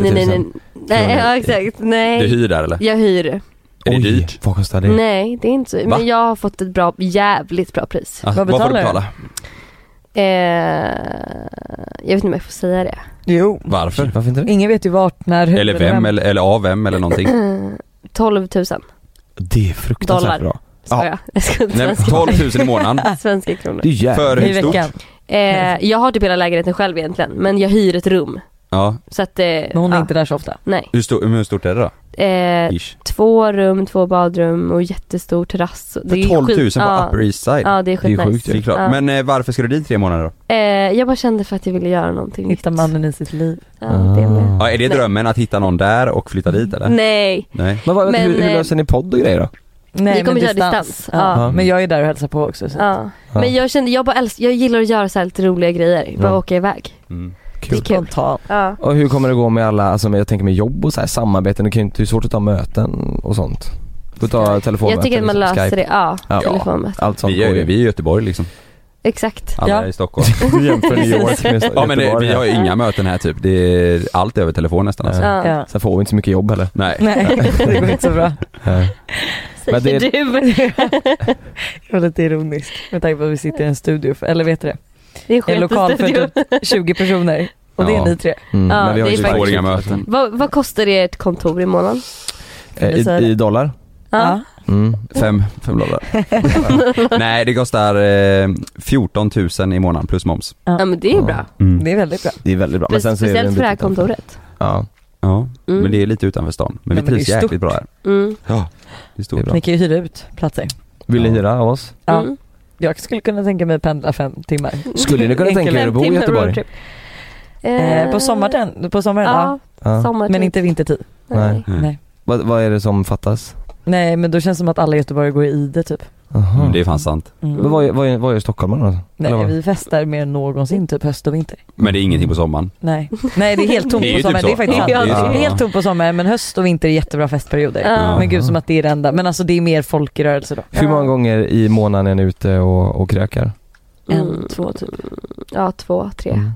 A: Nej, nej, nej,
B: 000?
A: nej, nej. nej ja, exakt.
D: Du
A: Nej,
D: hyr där eller?
A: jag hyr.
D: Är det
B: Oj,
D: dyrt?
B: vad kostar det?
A: Nej, det är inte så.
D: Va?
A: Men jag har fått ett bra, jävligt bra pris.
D: Alltså,
C: Vad
D: får du
C: betalar du?
D: betala?
A: Eh, jag vet inte om jag får säga det.
C: Jo.
D: Varför?
B: Varför inte det?
C: Ingen vet ju vart, när, hur.
D: Mm. Eller vem, eller, eller av vem, eller någonting?
A: 12 000 sa
B: Det är fruktansvärt
A: Dollar.
B: bra.
A: jag. Jag ska inte
D: Nej, men
A: svenska,
D: 12 000 i månaden.
A: svenska kronor.
B: Det är jävligt.
D: För
C: I
D: hur stort?
C: veckan.
A: Eh, jag har typ hela lägenheten själv egentligen, men jag hyr ett rum.
D: Ja.
A: Så att det...
C: Men hon är
A: ja,
C: inte där så ofta.
A: Nej.
D: Hur, stor, hur stort är det då?
A: Eh,
D: Ish.
A: två rum, två badrum och jättestor terrass. Det
D: För
A: är
D: 12 000
A: skit-
D: på
A: ja.
D: Upper East Side?
A: Ja, det är
B: Det är
A: skitnice.
B: sjukt
D: Det är
B: ju.
D: klart.
A: Ja.
D: Men eh, varför ska du dit tre månader då?
A: eh, jag bara kände för att jag ville göra
D: Mm.
A: någonting
C: Hitta
A: nytt.
C: mannen i sitt liv.
A: Ja, det är med.
D: Ja, är det
A: Nej.
D: drömmen att hitta någon Ah. där och flytta dit eller?
A: Nej,
D: Nej.
B: Men, vad,
A: Men,
B: hur, hur
A: eh,
B: löser ni podd och grejer då?
C: Nej,
A: Vi kommer
C: men
A: köra distans. Ja.
B: Ja.
C: Men jag är där och hälsar på också. Så.
A: ja.
B: Ja.
A: Men jag kände, jag bara älskar, jag gillar att göra så här lite roliga grejer. Bara
B: Ah. Ja.
A: åka iväg.
D: Mm.
A: Det är kul.
C: Spontan.
A: Ja.
B: Och hur kommer det gå med alla, alltså med, jag tänker med jobb och så här, samarbeten, det kan ju inte, det är svårt att ta möten och sånt. Får ta telefonmöten.
A: Jag tycker att man
B: liksom,
A: löser
B: Skype,
A: det. Ja,
B: Ja.
A: telefonmöte.
B: Allt sånt
D: Vi är,
B: går
D: ju-
B: ju.
D: vi är i Göteborg liksom.
A: Exakt.
D: Alla
C: Ja.
D: är i Stockholm.
B: jämför New York med
D: Ja men eh,
B: Göteborg
D: vi
B: här.
D: har ju inga möten här typ. Det är allt över telefon nästan alltså.
A: Ja.
C: Ja.
B: Sen får vi inte så mycket jobb heller. Eh, mm.
D: Nej.
C: Nej, det går inte så bra.
A: Säger
B: Men det-
A: du.
C: Det var lite ironiskt med tanke på att vi sitter i en studio, för, eller vet du det?
A: Det är
C: I en lokal för
A: skitstudio.
C: typ 20 personer. Och det
D: Ja.
C: är ni tre.
B: Mm,
A: Ja, det
B: ju
A: är
D: Vi får
A: faktiskt-
D: inga möten.
A: Vad, vad kostar ert kontor i månaden?
B: Eh,
C: Vill du säga
B: I, I dollar?
A: Ja.
B: Mm.
D: Fem, fem dollar. Nej det kostar eh, 14 000 i månaden plus moms.
A: Ja men det är ju bra.
D: Mm.
C: det? Det är väldigt bra.
B: Det är väldigt bra. Men sen så är det en
A: Speciellt för det här
B: bit utanför.
A: kontoret.
B: Ja,
D: Ja,
A: Mm.
D: men det är lite utanför stan. Men vi
C: Nej, men det är
D: trivs
C: ju
D: jäkligt
C: stort.
D: bra här.
A: Mm.
D: Ja, det är stort.
B: bra.
C: Ni kan ju hyra ut platser.
B: vill ni
D: Ja.
B: hyra av oss?
C: Ja.
A: Mm.
C: Jag skulle kunna tänka mig pendla fem timmar.
B: Skulle ni kunna
C: Enkel-
B: tänka er att bo i
A: Fem timmar
B: Göteborg?
A: roadtrip.
C: Eh, på sommaren, på sommaren ja.
A: Ja,
B: Ja.
A: sommartid.
C: Men inte vintertid.
A: Nej.
D: Mm.
C: Nej.
B: Vad, vad är det som fattas?
C: Nej men då känns det som att alla i Göteborg går i ide typ.
B: Aha.
D: Mm, Det är fan sant.
C: Mm.
B: Men vad, gör- vad, gör- vad gör stockholmarna då? Eller
C: Nej
B: vad?
C: vi festar mer än någonsin typ höst och vinter.
D: Men det är ingenting på sommaren.
C: Nej, Nej det är helt tomt
D: Det är ju
C: på
D: typ
C: sommaren.
D: så.
C: det är faktiskt
A: Ja,
C: sant.
A: det är
C: det
A: ju
C: är
B: så.
C: helt tomt på sommaren men höst och vinter är jättebra festperioder.
A: Ja.
C: Men gud som att det är det enda. Men alltså det är mer folk i rörelse då.
B: Hur många
A: Ja.
B: gånger i månaden är ni ute och, och krökar?
A: Mm.
C: En, två typ.
A: Ja, två, tre.
B: Mm.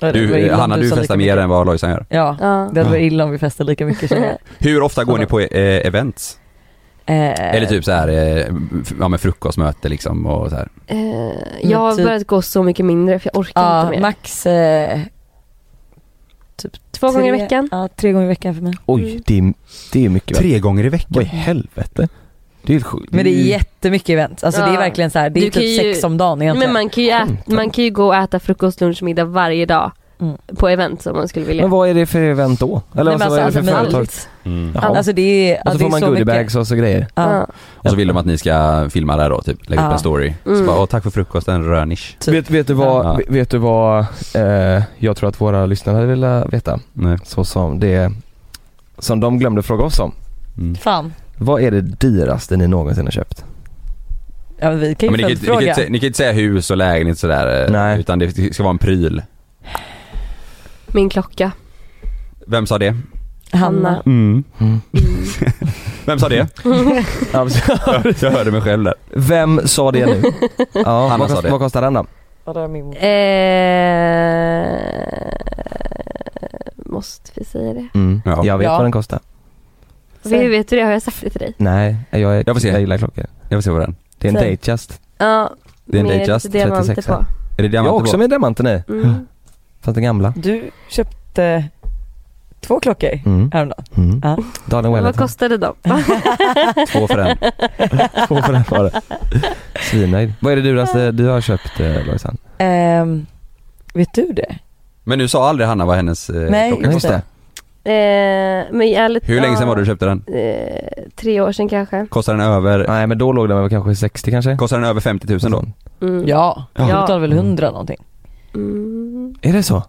C: Ja, det var
D: Du,
C: illa om
D: Hanna du
C: sa
D: festar
C: lika
D: mer
C: mycket.
D: än vad Lojsan gör.
C: Ja,
A: Ja.
C: det hade varit illa om vi festade lika mycket känner jag.
D: Hur ofta går ni på eh, events?
C: Eh,
D: Eller typ så här, eh, f- ja men frukostmöte liksom och så här.
A: Eh,
C: Men
A: jag har
C: typ-
A: börjat gå så mycket mindre för jag orkar
C: Ja,
A: inte mer.
C: max eh,
A: Två gånger i
C: tre-
A: veckan.
C: Ja, tre gånger i veckan för mig.
B: Oj,
A: Mm.
B: det är, det är mycket väl.
D: Tre gånger i veckan?
B: Vad i helvete? Det är helt sjukt.
C: Men det är jättemycket event. Alltså det
A: Ja.
C: är verkligen så här, det
A: Du
C: är
A: kan
C: typ
A: ju-
C: sex om dagen egentligen.
A: Men man kan, ju äta, man kan ju gå och äta frukost, lunch, middag varje dag
C: Mm.
A: på event om man skulle vilja.
B: Men vad är det för event då? Eller
C: Nej, men
B: alltså, vad är det
C: alltså,
B: för
C: men
B: företag?
C: allt.
D: Mm.
B: Jaha.
C: Alltså det är, ja,
B: och så
C: det
B: får
C: är
B: man
C: så mycket.
B: goodiebags och så grejer.
C: Ja.
A: Ja.
D: Och så vill de att ni ska filma där då, typ. Lägga upp
C: Ja.
D: en story. Så
A: Mm.
D: bara, "Åh, tack för frukosten, rönish.
C: Typ.
B: Vet, vet du vad,
D: Ja.
B: vet du vad eh, jag tror att våra lyssnare hade velat veta?
D: Nej. Mm.
B: Så som det, som de glömde fråga oss om.
D: Mm.
C: Fan.
B: Vad är det dyraste ni någonsin har köpt?
C: Ja, men vi
D: Ja,
C: kan ju
D: men ni, kan, ju- ni, kan, ju
C: följdfråga.
D: inte sä- ni kan ju inte säga hus och lägenhet sådär, eh,
B: Nej.
D: utan det ska vara en pryl.
A: Min klocka.
D: Vem sa det?
C: Hanna.
A: Hanna.
B: Mm.
D: Mm.
A: Mm.
D: Vem sa det? Jag hörde mig själv där.
B: Vem sa det nu? Ja,
D: Hanna
B: vad,
D: sa
B: kost,
D: det.
B: vad kostar den då?
A: Eh, måste vi säga det?
B: Mm.
D: Ja.
B: Jag vet
C: Ja.
B: vad den kostar.
A: Vi vet du det? Har jag sagt det till dig?
B: Nej, jag, är,
D: Jag får se.
B: jag gillar klockor.
D: Jag får se på den.
B: Det är en
A: Säg.
B: Datejust.
A: Ja.
D: Det är en
A: med
D: Datejust
A: lite diamanter
B: 36.
A: på.
D: Är det
B: Jag
D: diamant
B: har också med diamanten i,
A: Mm.
B: fast den gamla.
C: Du köpte två klockor
B: Mm.
C: häromdagen.
B: Mm.
C: Ja.
B: Daniel
A: Vad
B: Wellington.
A: kostade de?
D: Två för den.
B: Två för den var det. Svinnöjd. Vad är det dyraste du har köpt eh, Lojsan?
C: Ehm, vet du det?
D: Men du sa aldrig Hanna vad hennes eh,
C: Nej,
B: Nej,
D: klocka
C: just
B: just
D: kostade.
B: det.
A: Eh, men ärligt,
D: Hur länge sedan var det du köpte den?
A: Eh, tre år sedan kanske.
D: Kostar den över,
B: Nej men då låg den väl kanske 60 kanske?
D: kostar den över 50 000 då?
A: Mm.
C: Ja,
A: Ja.
C: jag betalade väl hundra någonting.
A: Mm.
B: Är det så?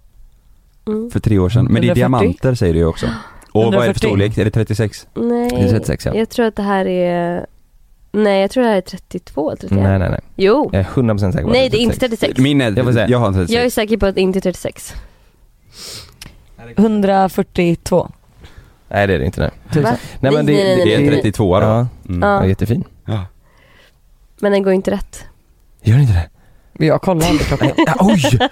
A: Mm.
D: För tre år sedan. Men det är
C: 140.
D: diamanter säger du ju också. Och vad är det för
C: 140?
D: storlek? Är det 36?
A: Nej.
B: Det är 36 ja.
A: Jag tror att det här är... Nej, jag tror det här är 32, 31.
B: Nej nej nej.
A: Jo.
B: Jag är typ 100% säker på att
A: Nej, det är inte
B: 36.
A: 36.
D: Min är,
B: Jag får se.
D: jag har en 36.
A: Jag är säker på att det inte är 36.
C: 142
B: Nej det är det inte nej.
C: tusen.
A: Va?
B: Nej men det,
A: Nej, nej, nej,
D: Det
A: nej,
D: är
A: nej.
D: 32 då.
B: Ja,
D: Mm.
B: den
A: Ja.
B: är jättefin.
A: Men den går inte rätt.
B: Gör inte det?
C: Men Jag kollade aldrig klockan.
B: Ja, oj!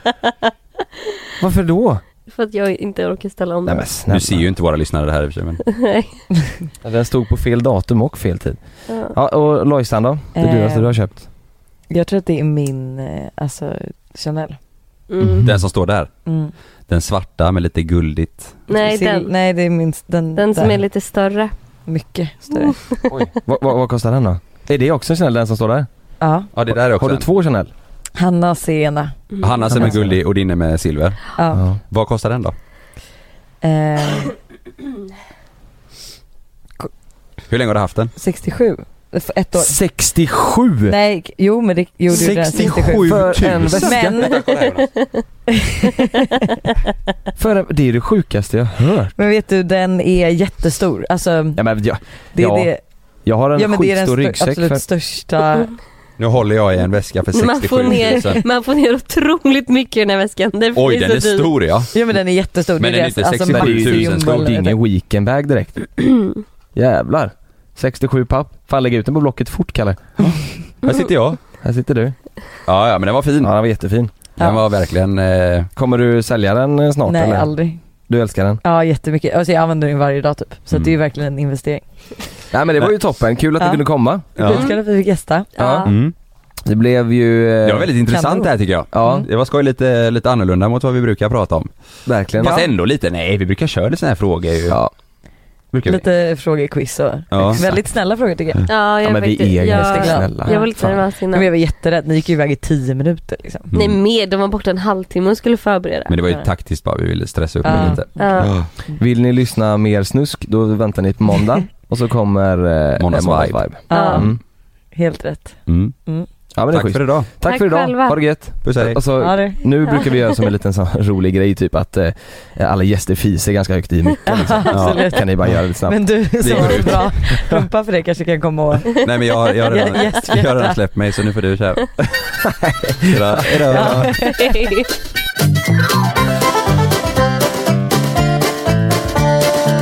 B: Varför då?
A: För att jag inte orkar ställa om
B: Nej men
A: den.
B: snälla.
D: Nu ser ju inte våra lyssnare det här i och för sig men.
A: Nej.
B: Ja, Den stod på fel datum och fel tid.
A: Ja.
B: Ja och Lojsan då? Det
C: Eh.
B: dyraste du har köpt?
C: Jag tror att det är min, eh, alltså Chanel.
A: Mm.
D: Den som står där.
C: Mm.
D: Den svarta med lite guldigt.
A: Nej,
C: Sil-
A: den.
C: Nej det är min, den,
A: Den som
C: där.
A: är lite större.
C: Mycket större.
B: Oj. vad, vad, vad kostar den då? Är det också en Chanel den som står där?
C: Ja.
D: Ja det där är också
B: Har du
D: en.
B: två Chanel?
C: Hanna Sena.
A: Mm.
D: Hanna som är
B: Hannas.
D: guldig och din är med silver.
C: Ja.
D: Vad kostar den då?
C: Eh,
D: Hur länge har du haft den?
C: 67. För Ett år.
B: 67!
C: Nej, jo men det gjorde ju den 67.
B: För en väska.
C: Men,
B: För, en- det är det sjukaste jag har hört.
C: men vet du den är jättestor. Alltså
B: Ja, men jag,
C: det är
B: Ja.
C: det.
B: jag har en
C: Ja men det är den
B: skitstor
C: stör,
B: ryggsäck
C: absolut
B: för
C: största.
D: Nu håller jag i en väska för 67
A: Man får,
D: 000.
A: ner, man får ner otroligt mycket i den här väskan. Den
D: Oj den är
A: så dyr.
D: stor ja.
C: Ja men den är jättestor.
D: Men den är
C: deras- alltså,
D: inte 67 000
C: Maxi
D: stor.
B: Det är
C: Jumbo-
B: ingen weekendbag direkt. Jävlar. 67 papp. Fan lägg ut den på Blocket fort Kalle.
D: Här sitter jag.
B: Här sitter du.
D: Ja ja men den var fin.
B: Ja den var jättefin.
D: Den var verkligen eh,
B: Kommer du sälja den eh, snart
C: Nej
B: eller?
C: aldrig.
B: Du älskar den?
C: Ja jättemycket. Alltså jag använder den varje dag typ. Så
D: Mm.
C: att det är ju verkligen en investering.
B: Nej men det var ju toppen, kul att ni
C: Ja.
B: kunde komma.
D: Ja.
C: Skitkul att vi fick gästa.
A: Ja.
D: Mm.
B: Det blev ju... eh,
D: Det var väldigt intressant det här tycker jag.
B: Ja,
C: Mm.
D: Det var skoj lite, lite annorlunda mot vad vi brukar prata om.
B: verkligen.
D: Fast ändå lite, nej vi brukar köra lite såna här frågor ju.
B: Ja.
D: Brukar vi.
C: Lite frågequiz och
D: Ja.
C: väldigt snälla frågor tycker jag.
A: Ja, jag
B: ja men vi är ganska
A: jag,
B: snälla.
A: jag var lite
B: Fan. Mm.
A: nervös
C: Men
A: innan.
C: jag var jätterädd, ni gick ju iväg i 10 minuter liksom.
D: Mm.
A: Nej mer, de var borta en halvtimme och skulle förbereda.
D: Men det var ju
C: Nej.
D: taktiskt bara, vi ville stressa upp det
C: Ja.
D: lite.
A: Ja.
B: Vill ni lyssna mer snusk, då väntar ni på måndag. Och så kommer eh,
D: Måndagsvibe.
B: måndagsvibe.
C: Ja,
B: Mm.
C: helt rätt.
D: Mm.
B: Ja men det är
D: Tack
B: schysst.
D: för idag.
B: Tack
A: Tack
B: för idag,
A: själva.
B: ha det gött.
D: Puss hej.
B: Och så
C: Ja, det.
B: Nu brukar vi göra som en liten sån rolig grej typ att eh, alla gäster fiser ganska högt i micken liksom.
C: absolut.
B: Kan ni bara göra det snabbt?
C: Men du som
D: går
C: har
D: ut.
C: så bra rumpa för det kanske kan komma och
D: Nej men jag, jag, har redan, jag har redan släppt mig så nu får du köra. Hejdå. Hejdå.